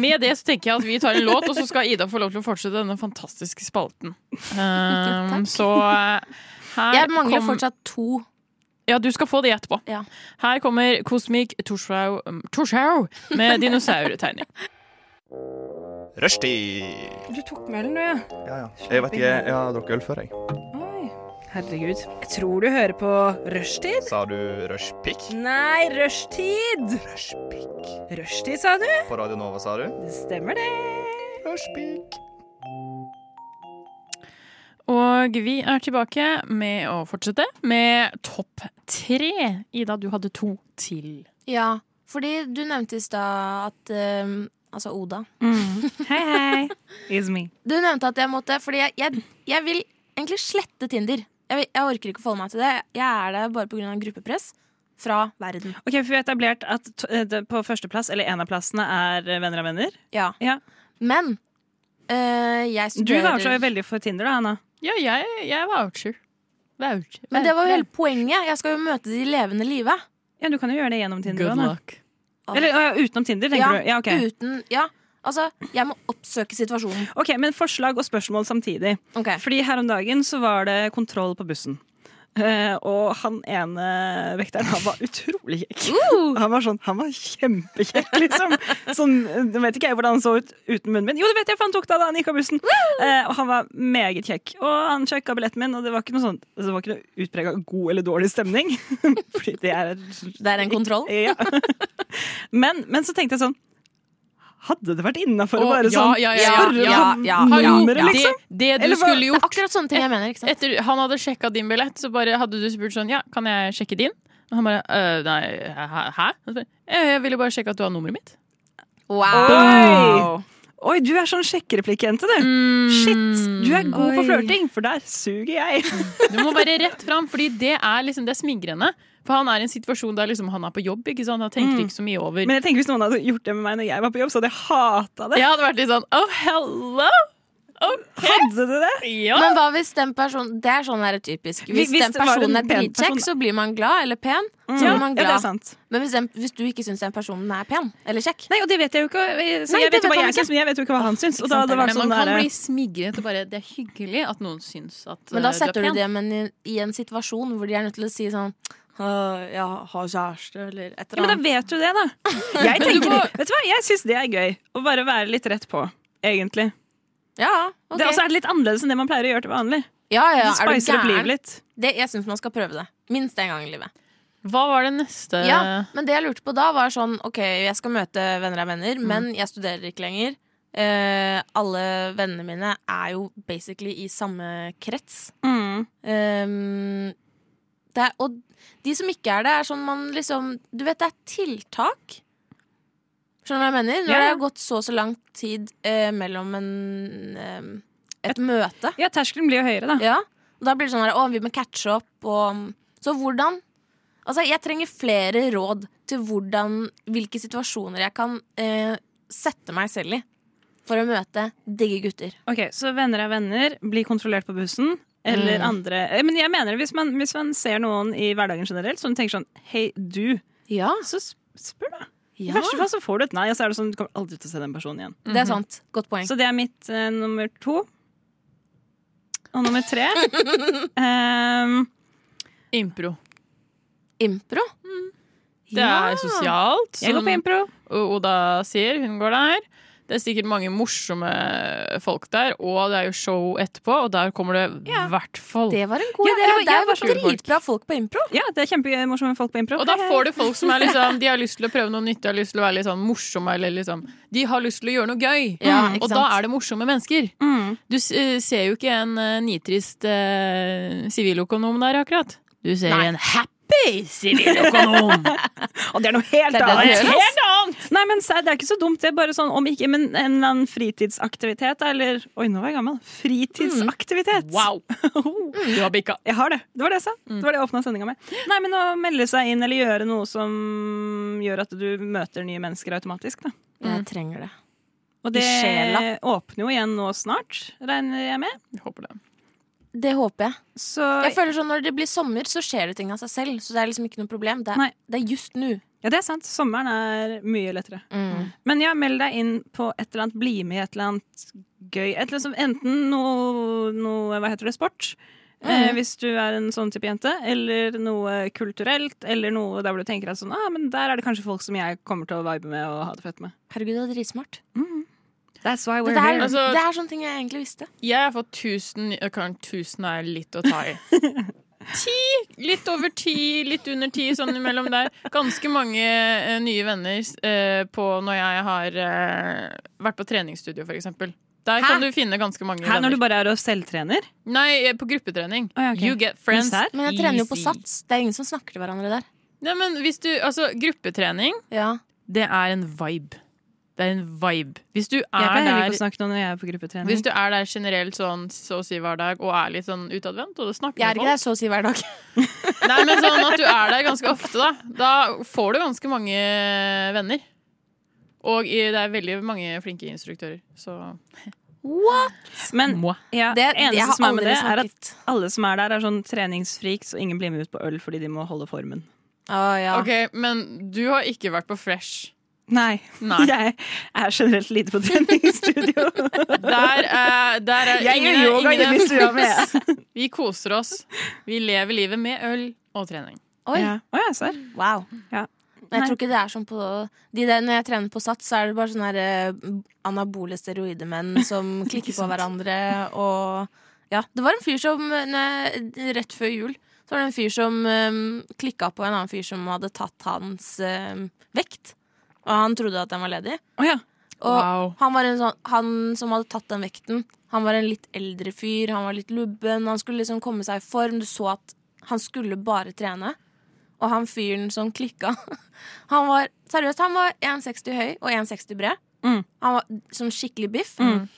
Med det så tenker jeg at vi tar en låt, og så skal Ida få lov til å fortsette denne fantastiske spalten. Um, så eh, her
Jeg mangler
kom-
fortsatt to.
Ja, du skal få det etterpå.
Ja.
Her kommer Kosmik Torshaug um, Torshaug med dinosaurtegning.
Rushtid!
Du tok med den, du, ja.
Ja, ja. Jeg vet ikke, jeg har drukket øl før, jeg.
Oi. Herregud. Jeg tror du hører på rushtid.
Sa du rushpick?
Nei, rushtid!
Rushpick.
Rushtid, sa du?
På Radio Nova, sa du?
Det stemmer, det.
Rushpick.
Og vi er tilbake med å fortsette med topp tre. Ida, du hadde to til.
Ja, fordi du nevnte i stad at eh, Altså Oda.
Mm. Hei, hei. It's me.
Du nevnte at jeg måtte Fordi jeg, jeg, jeg vil egentlig slette Tinder. Jeg, vil- jeg orker ikke å forholde meg til det. Jeg er der bare pga. gruppepress fra verden.
Ok, for Vi har etablert at to, eh, det- på førsteplass, eller en av plassene, er eh, venner av venner.
Ja.
Ja.
Men eh, jeg
Du
studerer
voucher jo veldig for Tinder, da, Anna.
Ja, jeg, jeg voucher. Voucher.
Men det var jo hele poenget. Jeg skal jo møte de i levende live.
Ja, Du kan jo gjøre det gjennom Tinder.
Good
Anna.
luck.
Eller å ja, utenom Tinder, tenker
Ja,
du. Ja, ok.
Uten Ja. Altså, jeg må oppsøke situasjonen.
ok, Men forslag og spørsmål samtidig.
Ok.
Fordi her om dagen så var det kontroll på bussen. Eh, og han ene vekteren han var utrolig kjekk.
Uh!
Han var sånn, han var kjempekjekk, liksom. Sånn, jeg vet ikke jeg hvordan han så ut uten munnen min. Jo, det vet jeg, for han tok det av da han gikk av bussen. Eh, og han var meget kjekk. Og han sjekka billetten min, og det var ikke noe sånn, det var ikke noe utprega god eller dårlig stemning. Fordi det er
Det er en kontroll.
ja. men, men så tenkte jeg sånn Hadde det vært innafor
Å,
å
ja,
bare sånn
ja, ja,
spørre
ja,
om
ja, ja,
Hallo,
nummeret, liksom?
det, det du
Eller hva-
skulle
Det er
gjort
akkurat sånne ting jeg mener. ikke sant?
etter, Han hadde sjekka din billett, så bare hadde du spurt sånn Ja, kan jeg sjekke din? Og han bare «Øh, Nei, hæ? hæ?» Og så bare, «Eh, Jeg ville bare sjekke at du har nummeret mitt.
Oi! Oi, du er sånn sjekkereplikk-jente, du. Shit, du er god på
Oi.
flørting, for der suger jeg.
Du må være rett fram, fordi det er, liksom, det er smigrende. For han er i en situasjon der liksom, han er på jobb, ikke sant? han tenker ikke så mye over.
Mm. Men jeg tenker hvis noen hadde gjort det med meg når jeg var på jobb, så hadde jeg hata det.
Jeg hadde vært litt sånn Oh, hello!
Hadde du det?
Ja!
Men hva hvis den personen Det er sånn der typisk. Hvis,
Hvis
den
det var en
personen er
pen
dritkjekk,
person- Mm.
så blir man glad. Eller pen, så
Ja,
blir man
ja, det er
glad.
sant.
Men hvis, den, hvis du ikke syns den personen er pen eller kjekk
Nei, og det vet jeg jo ikke. Så
Nei,
jeg
det
vet jo
vet
hva
han
jeg
ikke.
syns, men jeg vet jo ikke hva han syns. Og da hadde det
Men
vært sånn
man kan
der,
bli smigret og bare Det er hyggelig at noen syns at
Men da
eh,
setter
du
du
er pen.
dem i, i en situasjon hvor de er nødt til å si sånn «Øh, Jeg har kjæreste, eller et
ja,
eller
Men da
annet.
vet du det, da. Jeg tenker, vet du hva, jeg syns det er gøy. Å bare være litt rett på, egentlig.
Ja, ok.
Det, og så er det litt annerledes enn det man pleier å gjøre til vanlig.
ja, ja,
Du
er du
spicer opp livet
gæren?
litt.
Det, jeg syns man skal prøve det. Minst én gang i livet.
Hva var det neste
Eh.
Ja, men det jeg lurte på da, var sånn OK, jeg skal møte venner av venner, men
Mm.
jeg studerer ikke lenger. Eh, alle vennene mine er jo basically i samme krets.
Mm.
Ehm, det er, og de som ikke er det, er sånn man liksom Du vet, det er tiltak. Skjønner du hva jeg mener? Når
Ja,
det
ja.
har gått så og så lang tid eh, mellom en, ehm, et møte.
Ja, terskelen blir jo høyere, da.
Ja. Og da blir det sånn her Å, vi må catche opp. Og, um, så hvordan Altså, jeg trenger flere råd til hvordan, hvilke situasjoner jeg kan eh, sette meg selv i for å møte digge gutter.
Ok, Så venner er venner, bli kontrollert på bussen. Eller andre eh, Men jeg mener det, hvis man, hvis man ser noen i hverdagen generelt som tenker sånn Hei, du.
Ja.
Så sp- spør, da. I verste fall så får du et nei, og så er det sånn du kommer aldri til å se den personen igjen.
Det er sant. Godt poeng.
Så det er mitt eh, nummer to. Og nummer tre ehm,
Impro.
Impro.
Det er sosialt. sånn-
Jeg går på
som-
impro.
O- Oda sier, hun går der. Det er sikkert mange morsomme folk der, og det er jo show etterpå, og der kommer det i hvert fall.
Det var en god
Oh. Ja,
idé.
det var-
Det
jeg
er
var
jo
sånn-
dritbra folk på impro.
Ja, det er kjempemorsomme folk på impro.
Og da får du folk som er liksom, de har lyst til å prøve noe nytt, de har lyst til å være litt sånn morsomme, eller liksom De har lyst til å gjøre noe gøy. Mm.
Ja, ikke
og da
sant?
er det morsomme mennesker.
Mm.
Du s- eh, ser jo ikke en eh, nitrist eh, siviløkonom der, akkurat. Du ser
Nei.
en happy siviløkonom!
Og det er noe helt
Det er det
annet!
det gjør,
helt annet! Nei, men se, Det er ikke så dumt. Det er bare sånn om ikke Men en eller annen fritidsaktivitet, da, eller Oi, nå var jeg gammel. Fritidsaktivitet!
Wow! Du har bikka.
Oh. Jeg har det. Det var det jeg sa.
Mm.
Det var det jeg åpna sendinga med. Nei, men å melde seg inn eller gjøre noe som gjør at du møter nye mennesker automatisk, da.
Jeg trenger det.
Og det
I sjela.
åpner jo igjen nå snart, regner jeg med.
Jeg håper det.
Det håper jeg.
Så
Jeg føler sånn Når det blir sommer, så skjer det ting av seg selv. Så det er liksom ikke noe problem. Det
Nei.
er, det er just nå.
Ja, det er sant. Sommeren er mye lettere.
Mm.
Men ja, meld deg inn på et eller annet, bli med i et eller annet gøy. Et eller annet, som- enten noe, noe Hva heter det? Sport.
Mm.
Eh, hvis du er en sånn type jente. Eller noe kulturelt. Eller noe der hvor du tenker at sånn, ah, men der er det kanskje folk som jeg kommer til å vibe med og ha det fett med.
Herregud, det er dritsmart.
That's why
Det,
we're
der,
here.
Altså-
det er sånne ting jeg egentlig visste.
Jeg har fått 1000 Karen, 1000 er litt å ta i. Ti! Litt over ti, litt under ti, sånn imellom der. Ganske mange eh, nye venner eh, på når jeg har eh, vært på treningsstudio, for eksempel. Der kan
Hæ?
du finne ganske mange
Her når du
venner.
bare er og selvtrener.
Nei, eh, på gruppetrening.
Å, ja, ok.
You get friends
Misær?
Men jeg trener jo på
easy.
sats. Det er ingen som snakker til hverandre der.
Nei, men hvis du, altså, gruppetrening,
Ja.
det er en vibe. Det er en vibe. Hvis du
Jeg
er
pleier heller ikke
der
å snakke nå når jeg er på gruppetrening.
hvis du er der generelt sånn så å si hver dag og er litt sånn utadvendt og snakker
Jeg
med
er ikke
folk
der så å si hver dag.
Nei, men sånn at du er der ganske ofte, da. Da får du ganske mange venner. Og i- det er veldig mange flinke instruktører, så
Men
Mwah.
ja,
Det,
det
jeg
eneste
har
som er
aldri
med det, er at
snakket.
alle som er der, er sånn treningsfreaks, og ingen blir med ut på øl fordi de må holde formen.
Å ja.
Ok, men du har ikke vært på Fresh.
Nei.
Nei.
Jeg er generelt lite på treningsstudio.
Der er, der er
Jeg gjør
ingen-
yoga
ingen-
hjemme i stua mi,
Vi koser oss. Vi lever livet med øl og trening.
Oi,
ja. Å, ja, serr.
wow.
Ja.
Men
Nei.
jeg tror ikke det er sånn på de der, Når jeg trener på SATS, så er det bare sånne her, eh, anabole steroidemenn som klikker på hverandre og Ja. Det var en fyr som eh, nei, Rett før jul så var det en fyr som um, klikka på en annen fyr som hadde tatt hans eh, vekt. Og han trodde at den var ledig.
Å, ja.
Og han, var en sånn, han som hadde tatt den vekten, han var en litt eldre fyr, han var litt lubben, han skulle liksom komme seg i form. Du så at han skulle bare trene. Og han fyren som klikka Han var seriøst, han var 1,60 høy og 1,60 bred.
Mm.
Han var som skikkelig biff.
Mm.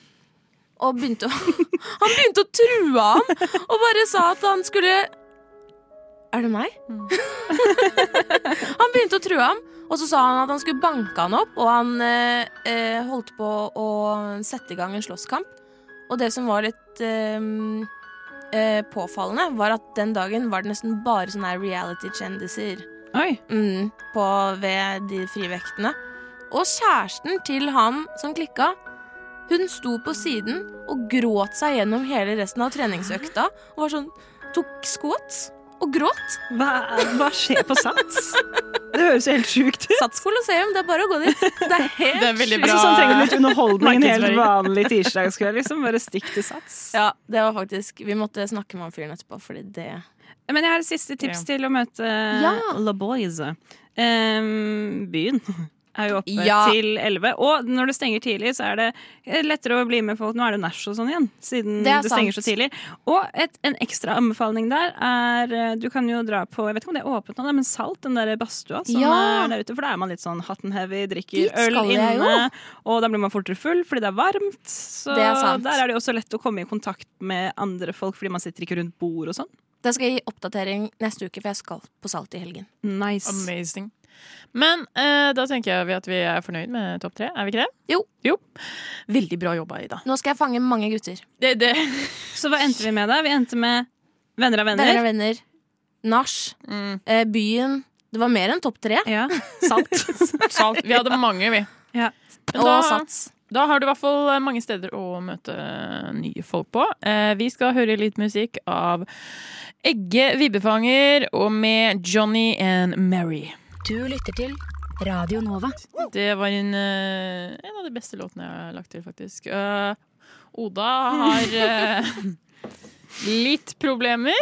Og begynte å Han begynte å true ham og bare sa at han skulle Er det meg? han begynte å true ham. Og så sa han at han skulle banke han opp, og han eh, eh, holdt på å sette i gang en slåsskamp. Og det som var litt eh, eh, påfallende, var at den dagen var det nesten bare sånne her reality-kjendiser
Oi.
mm, på, ved de frivektene. Og kjæresten til han som klikka, hun sto på siden og gråt seg gjennom hele resten av treningsøkta. Og var sånn, tok squats og gråt.
Hva, hva skjer på sats? Det høres jo helt sjukt ut.
Sats Colosseum, det er bare å gå dit. Det er helt
Det er veldig
sjukt.
bra.
Altså, sånn trenger du litt underholdning en helt
Markedsføring.
vanlig tirsdagskveld. Liksom. Bare stikk til sats.
Ja, det var faktisk Vi måtte snakke med han fyren etterpå, fordi det
Men jeg har et siste tips til å møte eh,
Ja.
La Boys. Em, byen er jo oppe
Ja.
til 11. Og når det stenger tidlig, så er det eh, lettere å bli med folk. Nå er det nach og sånn igjen, siden
Det
det,
er
stenger så
sant.
tidlig. Og et, en ekstra anbefaling der er eh, Du kan jo dra på Jeg vet ikke om det er åpent nå, da, men Salt, den der badstua som
Ja.
er der ute. For da er man litt sånn hatten heavy,
Dit
drikker
skal
øl
jeg jo.
inne. Og da blir man fortere full fordi det er varmt. Så
Det er sant.
der er det jo også lett å komme i kontakt med andre folk fordi man sitter ikke rundt bord og sånn.
Det skal jeg gi oppdatering neste uke, for jeg skal på Salt i helgen.
Nice.
Amazing. Men eh, da tenker jeg vi at vi er fornøyd med topp tre, er vi ikke det?
Jo.
Veldig bra jobba, Ida.
Nå skal jeg fange mange gutter.
Det, det.
Så hva endte vi med da? Vi endte med Venner av venner.
Venner av venner. Nach.
Mm.
Eh, byen. Det var mer enn topp tre.
Ja, salt.
Salt. Vi hadde mange, vi.
Ja.
Men
Og
da,
Sats.
da har du i hvert fall eh, mange steder å møte nye folk på. Eh, vi skal høre litt musikk av Egge Vibbefanger og med Johnny and Mary.
Du lytter til Radio Nova.
Det var en, eh, en av de beste låtene jeg har lagt til, faktisk. Eh, Oda har eh, litt problemer.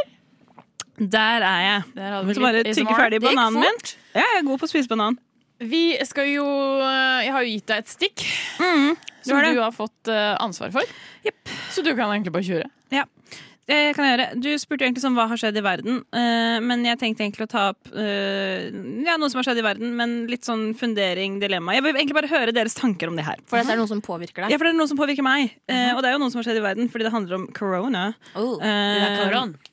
Der er jeg.
Der hadde vi
Så bare
litt
tygge
ASMR.
ferdig
Det gikk
bananen min. Ja, jeg er god på å spise banan.
Vi skal jo eh, Jeg har jo gitt deg et stikk som
har det.
du har fått eh, ansvar for. Så du kan egentlig bare kjøre.
Det Eh, kan jeg gjøre. Du spurte egentlig sånn hva har skjedd i verden, eh, men jeg tenkte egentlig å ta opp eh, ja, noe som har skjedd i verden, men litt sånn fundering, dilemma. Jeg vil egentlig bare høre deres tanker om det her.
For dette er noe som påvirker deg.
Ja, for det er noe som påvirker meg, eh, og det er jo noe som har skjedd i verden, fordi det handler om corona.
Oh.
Eh,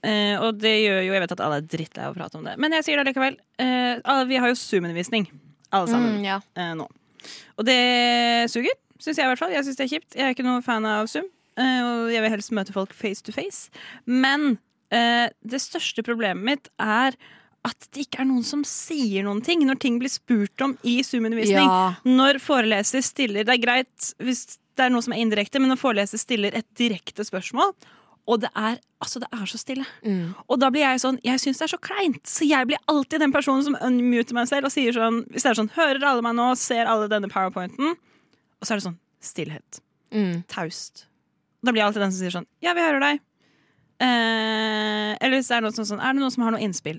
eh, og det gjør jo Jeg vet at alle er drittlei av å prate om det, men jeg sier det likevel. Eh, alle- vi har jo Zoom-undervisning, alle sammen,
Mm, ja.
eh, nå. Og det suger, syns jeg i hvert fall. Jeg syns det er kjipt. Jeg er ikke noe fan av Zoom, eh, og jeg vil helst møte folk face to face. Men eh, det største problemet mitt er at det ikke er noen som sier noen ting når ting blir spurt om i Zoom-undervisning.
Ja.
Når foreleser stiller Det er greit hvis det er noe som er indirekte, men når foreleser stiller et direkte spørsmål, og det er, altså det er så stille.
Mm.
Og da blir jeg sånn, jeg syns det er så kleint, så jeg blir alltid den personen som unmuter meg selv og sier sånn Hvis det er sånn Hører alle meg nå? Ser alle denne powerpointen? Og så er det sånn stillhet.
Mm.
Taust. Da blir jeg alltid den som sier sånn Ja, vi hører deg. Eh, eller hvis det er noe sånn, sånn Er det noen som har noe innspill?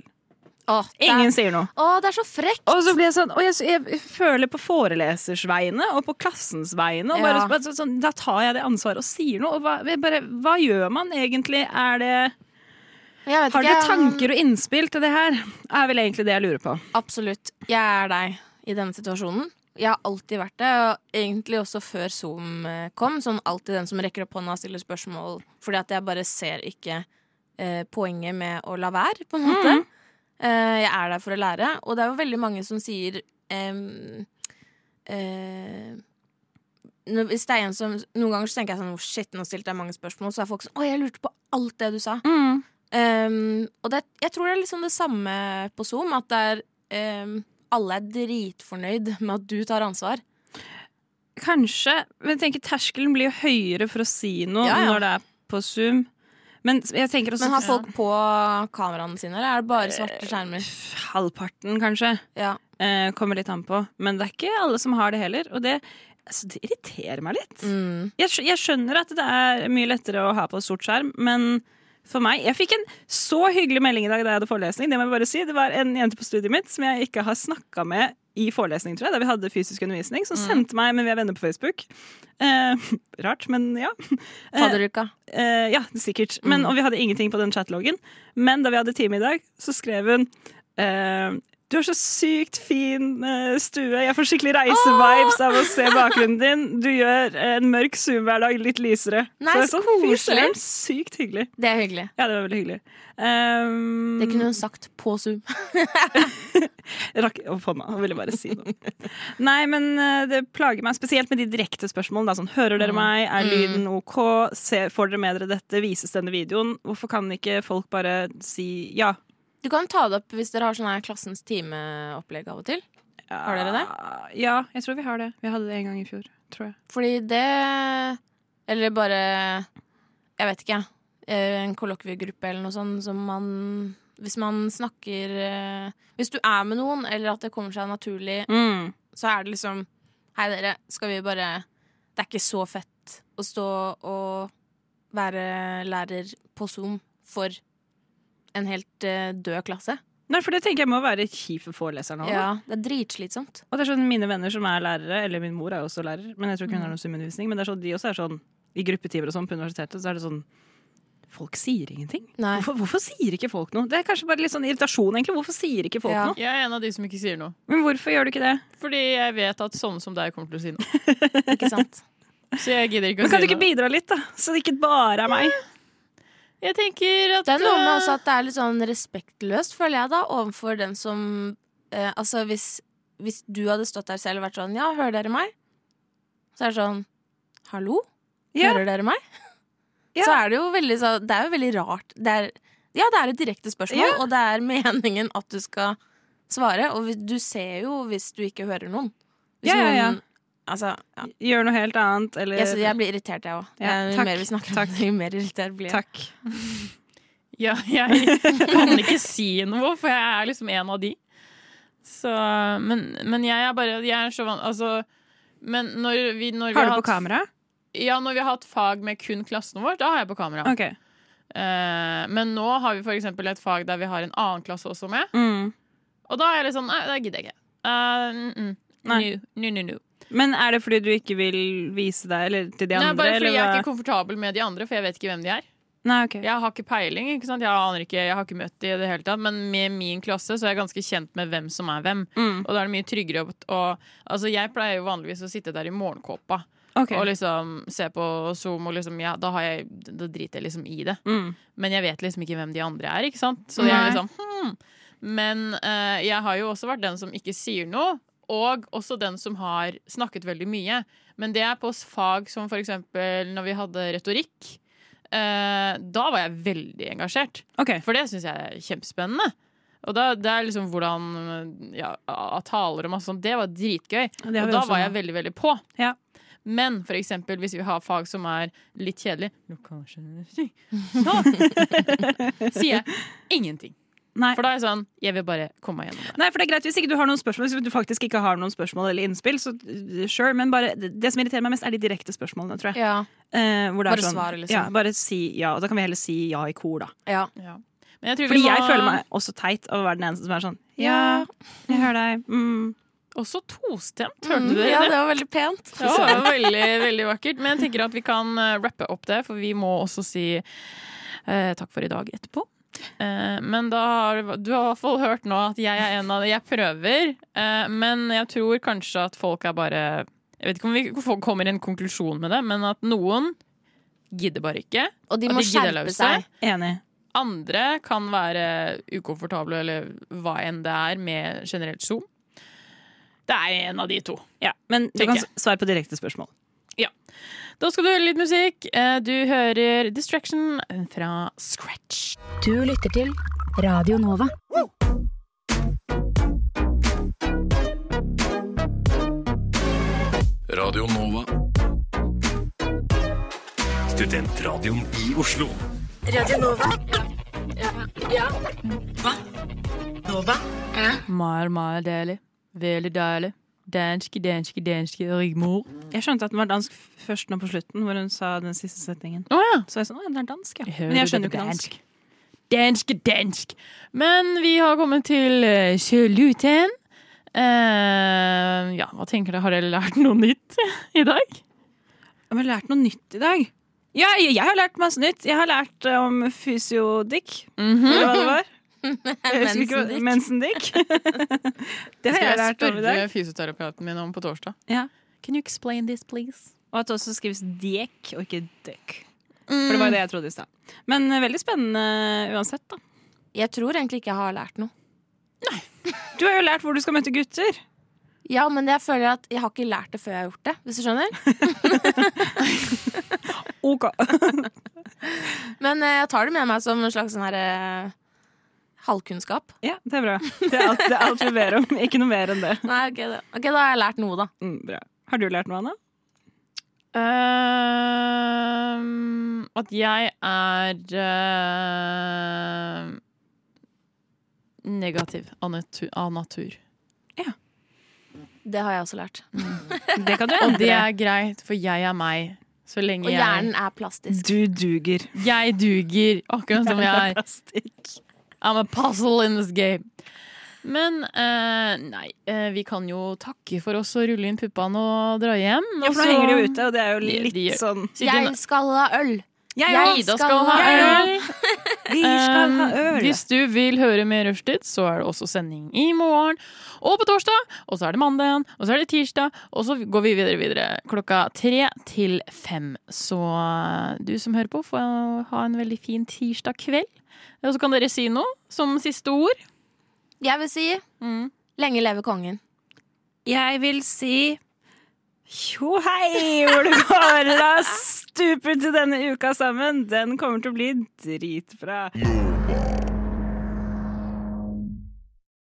Åh, det er-
Ingen sier noe.
Åh, det er så frekt!
Og så blir jeg sånn, og jeg, jeg føler på forelesers vegne og på klassens vegne. Og bare,
Ja.
bare så- sånn, da tar jeg det ansvaret og sier noe. Og hva, jeg bare, hva gjør man egentlig? Er det,
Jeg vet
har
ikke, um,
dere tanker og innspill til det her? Er vel egentlig det jeg lurer på.
Absolutt. Jeg er deg i denne situasjonen. Jeg har alltid vært det, og egentlig også før Zoom eh, kom. Sånn alltid den som rekker opp hånda og stiller spørsmål, fordi at jeg bare ser ikke eh, poenget med å la være, på en måte. Eh, jeg er der for å lære, og det er jo veldig mange som sier em, eh, når, Hvis det er en som Noen ganger så tenker jeg sånn «Å, Shit, nå stilte jeg mange spørsmål, så er folk sånn Å, jeg lurte på alt det du sa.
Mm.
Em, Ehm, og det, jeg tror det er liksom det samme på Zoom, at det er em, alle er dritfornøyd med at du tar ansvar.
Kanskje. Men jeg tenker terskelen blir jo høyere for å si noe
Ja, ja.
når det er på Zoom. Men jeg tenker også
Men har folk på kameraene sine, eller er det bare svarte skjermer?
halvparten, kanskje.
Ja.
Eh, kommer litt an på. Men det er ikke alle som har det heller. Og det, altså, det irriterer meg litt.
Mm.
Jeg, skj- jeg skjønner at det er mye lettere å ha på sort skjerm, men for meg Jeg fikk en så hyggelig melding i dag da jeg hadde forelesning. Det må jeg bare si. Det var en jente på studiet mitt som jeg ikke har snakka med i forelesning, tror jeg, da vi hadde fysisk undervisning, som sendte meg Men vi er venner på Facebook. Eh, rart, men ja.
Fadderuka.
Eh, ja, sikkert. Men,
Mm.
Og vi hadde ingenting på den chatloggen. Men da vi hadde time i dag, så skrev hun eh, Du har så sykt fin eh, stue. Jeg får skikkelig reisevibes av å se bakgrunnen din. Du gjør en mørk Zoom-hverdag litt lysere.
Nei,
det er
så
sånn, fy
koselig.
søren, Sykt hyggelig.
Det er hyggelig.
Ja, det var veldig hyggelig. Um,
Det kunne hun sagt på Zoom.
rakk opp hånda og ville bare si noe. Nei, men eh, det plager meg spesielt med de direkte spørsmålene. da, Sånn, Hører
Mm.
dere meg? Er lyden OK? Se, får dere med dere dette? Vises denne videoen? Hvorfor kan ikke folk bare si ja?
Du kan ta det opp hvis dere har sånn her klassens timeopplegg av og til. Har dere
det? Ah, Ja, jeg tror vi har det. Vi hadde det en gang i fjor, tror jeg.
Fordi det Eller bare Jeg vet ikke, jeg. Eh, En kollokviegruppe eller noe sånt som man Hvis man snakker eh, Hvis du er med noen, eller at det kommer seg naturlig, så er det liksom Hei, dere, skal vi bare Det er ikke så fett å stå og være lærer på Zoom for en helt eh, død klasse.
Nei, for det tenker jeg må være kjipt for foreleserne òg.
Ja, det er dritslitsomt.
Og det er sånn mine venner som er lærere, eller min mor er jo også lærer, men jeg tror
Mm.
ikke hun har noen sumundervisning, men det er sånn, de også er sånn i gruppetimer og sånn på universitetet, så er det sånn Folk sier ingenting.
Nei.
Hvorfor, hvorfor sier ikke folk noe? Det er kanskje bare litt sånn irritasjon, egentlig. Hvorfor sier ikke folk
Ja.
noe?
Jeg er en av de som ikke sier noe.
Men hvorfor gjør du ikke det?
Fordi jeg vet at sånne som deg kommer til å si noe.
Ikke sant?
Så jeg gidder ikke å
Men kan du
si
ikke
noe.
bidra litt, da? Så det ikke bare er meg.
Jeg tenker at
Det er noe med
eh,
også at det er litt sånn respektløst, føler jeg, da, overfor den som eh, Altså, hvis, hvis du hadde stått der selv og vært sånn Ja, hører dere meg? Så er det sånn Hallo?
Ja.
Hører dere meg?
Ja.
Så er det jo veldig sånn Det er jo veldig rart. Det er, ja, det er et direkte spørsmål, og det er meningen at du skal svare. Og hvis- du ser jo hvis du ikke hører noen. Hvis
Ja, ja, ja.
noen Altså, ja.
Gjør noe helt annet, eller
Jeg, jeg blir irritert, jeg òg.
Ja,
Jo
takk.
mer vi snakker om det, jo mer irritert blir jeg.
Takk.
eh, Ja, jeg kan ikke si noe, for jeg er liksom en av de. Så, men, men jeg er bare Jeg er så van... Altså men når vi, når vi
Har du på
hatt-
kamera?
Ja, når vi har hatt fag med kun klassen vår, da har jeg på kamera.
OK.
Eh, men nå har vi for eksempel et fag der vi har en annen klasse også med.
Mm.
Og da er jeg litt sånn Nei, det gidder jeg ikke. Eh, mm, mm.
Nei.
Nu, nu, nu, nu.
Men er det fordi du ikke vil vise deg eller til de
Nei,
andre?
bare fordi
eller
jeg er
hva?
ikke komfortabel med de andre, for jeg vet ikke hvem de er.
Nei, ok.
Jeg har ikke peiling, ikke sant? Jeg aner ikke, jeg har ikke møtt de i det hele tatt, men med min klasse så er jeg ganske kjent med hvem som er hvem.
Mm.
Og da er det mye tryggere å å- Altså, jeg pleier jo vanligvis å sitte der i morgenkåpa
Ok.
og liksom se på Zoom, og liksom, ja, da, har jeg, da driter jeg liksom i det.
Mm.
Men jeg vet liksom ikke hvem de andre er, ikke sant? Så jeg er
Nei.
liksom hmm. Men eh, jeg har jo også vært den som ikke sier noe, og også den som har snakket veldig mye. Men det er på s- fag som for eksempel når vi hadde retorikk. eh, da var jeg veldig engasjert,
Ok.
for det syns jeg er kjempespennende. Og da, det er liksom hvordan ja, a- taler og masse sånt. Det var dritgøy.
Det har
og
vi
da
også
var
nå.
jeg veldig, veldig på.
Ja.
Men for eksempel hvis vi har fag som er litt kjedelig Lokaljournalistikk. Så sier jeg ingenting.
Nei.
For da er jeg sånn Jeg vil bare komme meg gjennom det.
Nei, for det er greit hvis ikke du har noen spørsmål Hvis du faktisk ikke har noen spørsmål eller innspill, så uh, sure. Men bare, det det som irriterer meg mest, er de direkte spørsmålene, tror jeg.
Ja,
Eh, hvor det er
Bare
sånn,
svaret, liksom.
Ja, bare si ja. Og da kan vi heller si ja i kor, da.
ja.
Men jeg tror
Fordi
vi må
jeg føler meg også teit av å være den eneste som er sånn Ja,
Mm.
jeg hører deg. Mm.
også tostemt, hørte du det?
ja, det var veldig pent.
Ja, det var veldig, veldig vakkert. Men jeg tenker at vi kan eh, rappe opp det, for vi må også si eh, takk for i dag etterpå. Eh, men da har du, du har i hvert fall hørt nå at jeg er en av de Jeg prøver, eh, men jeg tror kanskje at folk er bare Jeg vet ikke om vi hvorfor kommer i en konklusjon med det, men at noen gidder bare ikke.
Og de
At
må
de gidder
skjerpe
løse.
seg.
Enig.
Andre kan være ukomfortable, eller hva enn det er, med generelt Zoom. Det er en av de to.
Ja, men du
Tenker
kan
jeg.
svare på direkte spørsmål.
Da skal du høre litt musikk. Eh, Du hører Distraction fra Scratch.
Du lytter til Radio Nova.
Radio Nova.
Studentradioen i Oslo.
Mar, mar, deilig. Veldig deilig. Danske, danske, danske Rigmor.
Jeg skjønte at den var dansk f- først nå på slutten, hvor hun sa den siste setningen.
Å ja.
Så jeg sa at den er dansk, ja.
Hører
Men
du
jeg skjønner jo
dette
ikke dansk.
Dansk, dansk. Men vi har kommet til eh, Kjøluten. Eh, ja, hva tenker dere? Har dere lært noe nytt i dag?
Jeg har lært noe nytt i dag. Ja, jeg, jeg har lært masse nytt. Jeg har lært eh, om fysiodikk.
Mhm.
Eller hva det var. Jeg husker ikke hva- Mensendikk. det har jeg lært om i dag.
fysioterapeuten min om på torsdag.
Ja.
Can you explain this, please?
Og at det også skrives diek og ikke døkk. For det var jo det jeg trodde i stad. Men eh, veldig spennende uansett, da.
Jeg tror egentlig ikke jeg har lært noe.
Du har jo lært hvor du skal møte gutter.
Ja, men jeg føler at jeg har ikke lært det før jeg har gjort det. Hvis du skjønner
Ok.
Men eh, jeg tar det med meg som en slags sånn her eh, halvkunnskap.
Ja, det er bra. Det er alt, det er alt vi ber om. Ikke noe mer enn det.
Nei, ok, da, ok, da har jeg lært noe, da.
Mm, bra. Har du lært noe, Anna?
Ehm, at jeg er ehm, negativ av natu- av natur.
Det har jeg også lært.
Det kan du
Og det
endre.
er greit, for jeg er meg. Så lenge
Og
jeg,
hjernen er plastisk.
Du duger.
jeg duger akkurat som jeg er.
Plastikk.
I'm a puzzle in this game. Men eh, nei, eh, vi kan jo takke for oss og rulle inn puppene og dra hjem.
Ja, for
og
nå
så-
henger de jo ute, og det er jo
De-
litt
de gjør-
sånn
Sitter-
Jeg skal ha øl!
Jeg-
Ida skal ha øl.
Vi skal ha
Um,
øl.
Hvis du vil høre mer Rushtid, så er det også sending i morgen og på torsdag. Og så er det mandag, og så er det tirsdag, og så går vi videre videre klokka tre til fem. Så eh, du som hører på, får ha en veldig fin tirsdag kveld. Og så kan dere si noe som siste ord.
Jeg vil si lenge leve kongen.
Jeg vil si tjo hei hvor det går. La oss stupe til denne uka sammen. Den kommer til å bli dritbra.
Nova.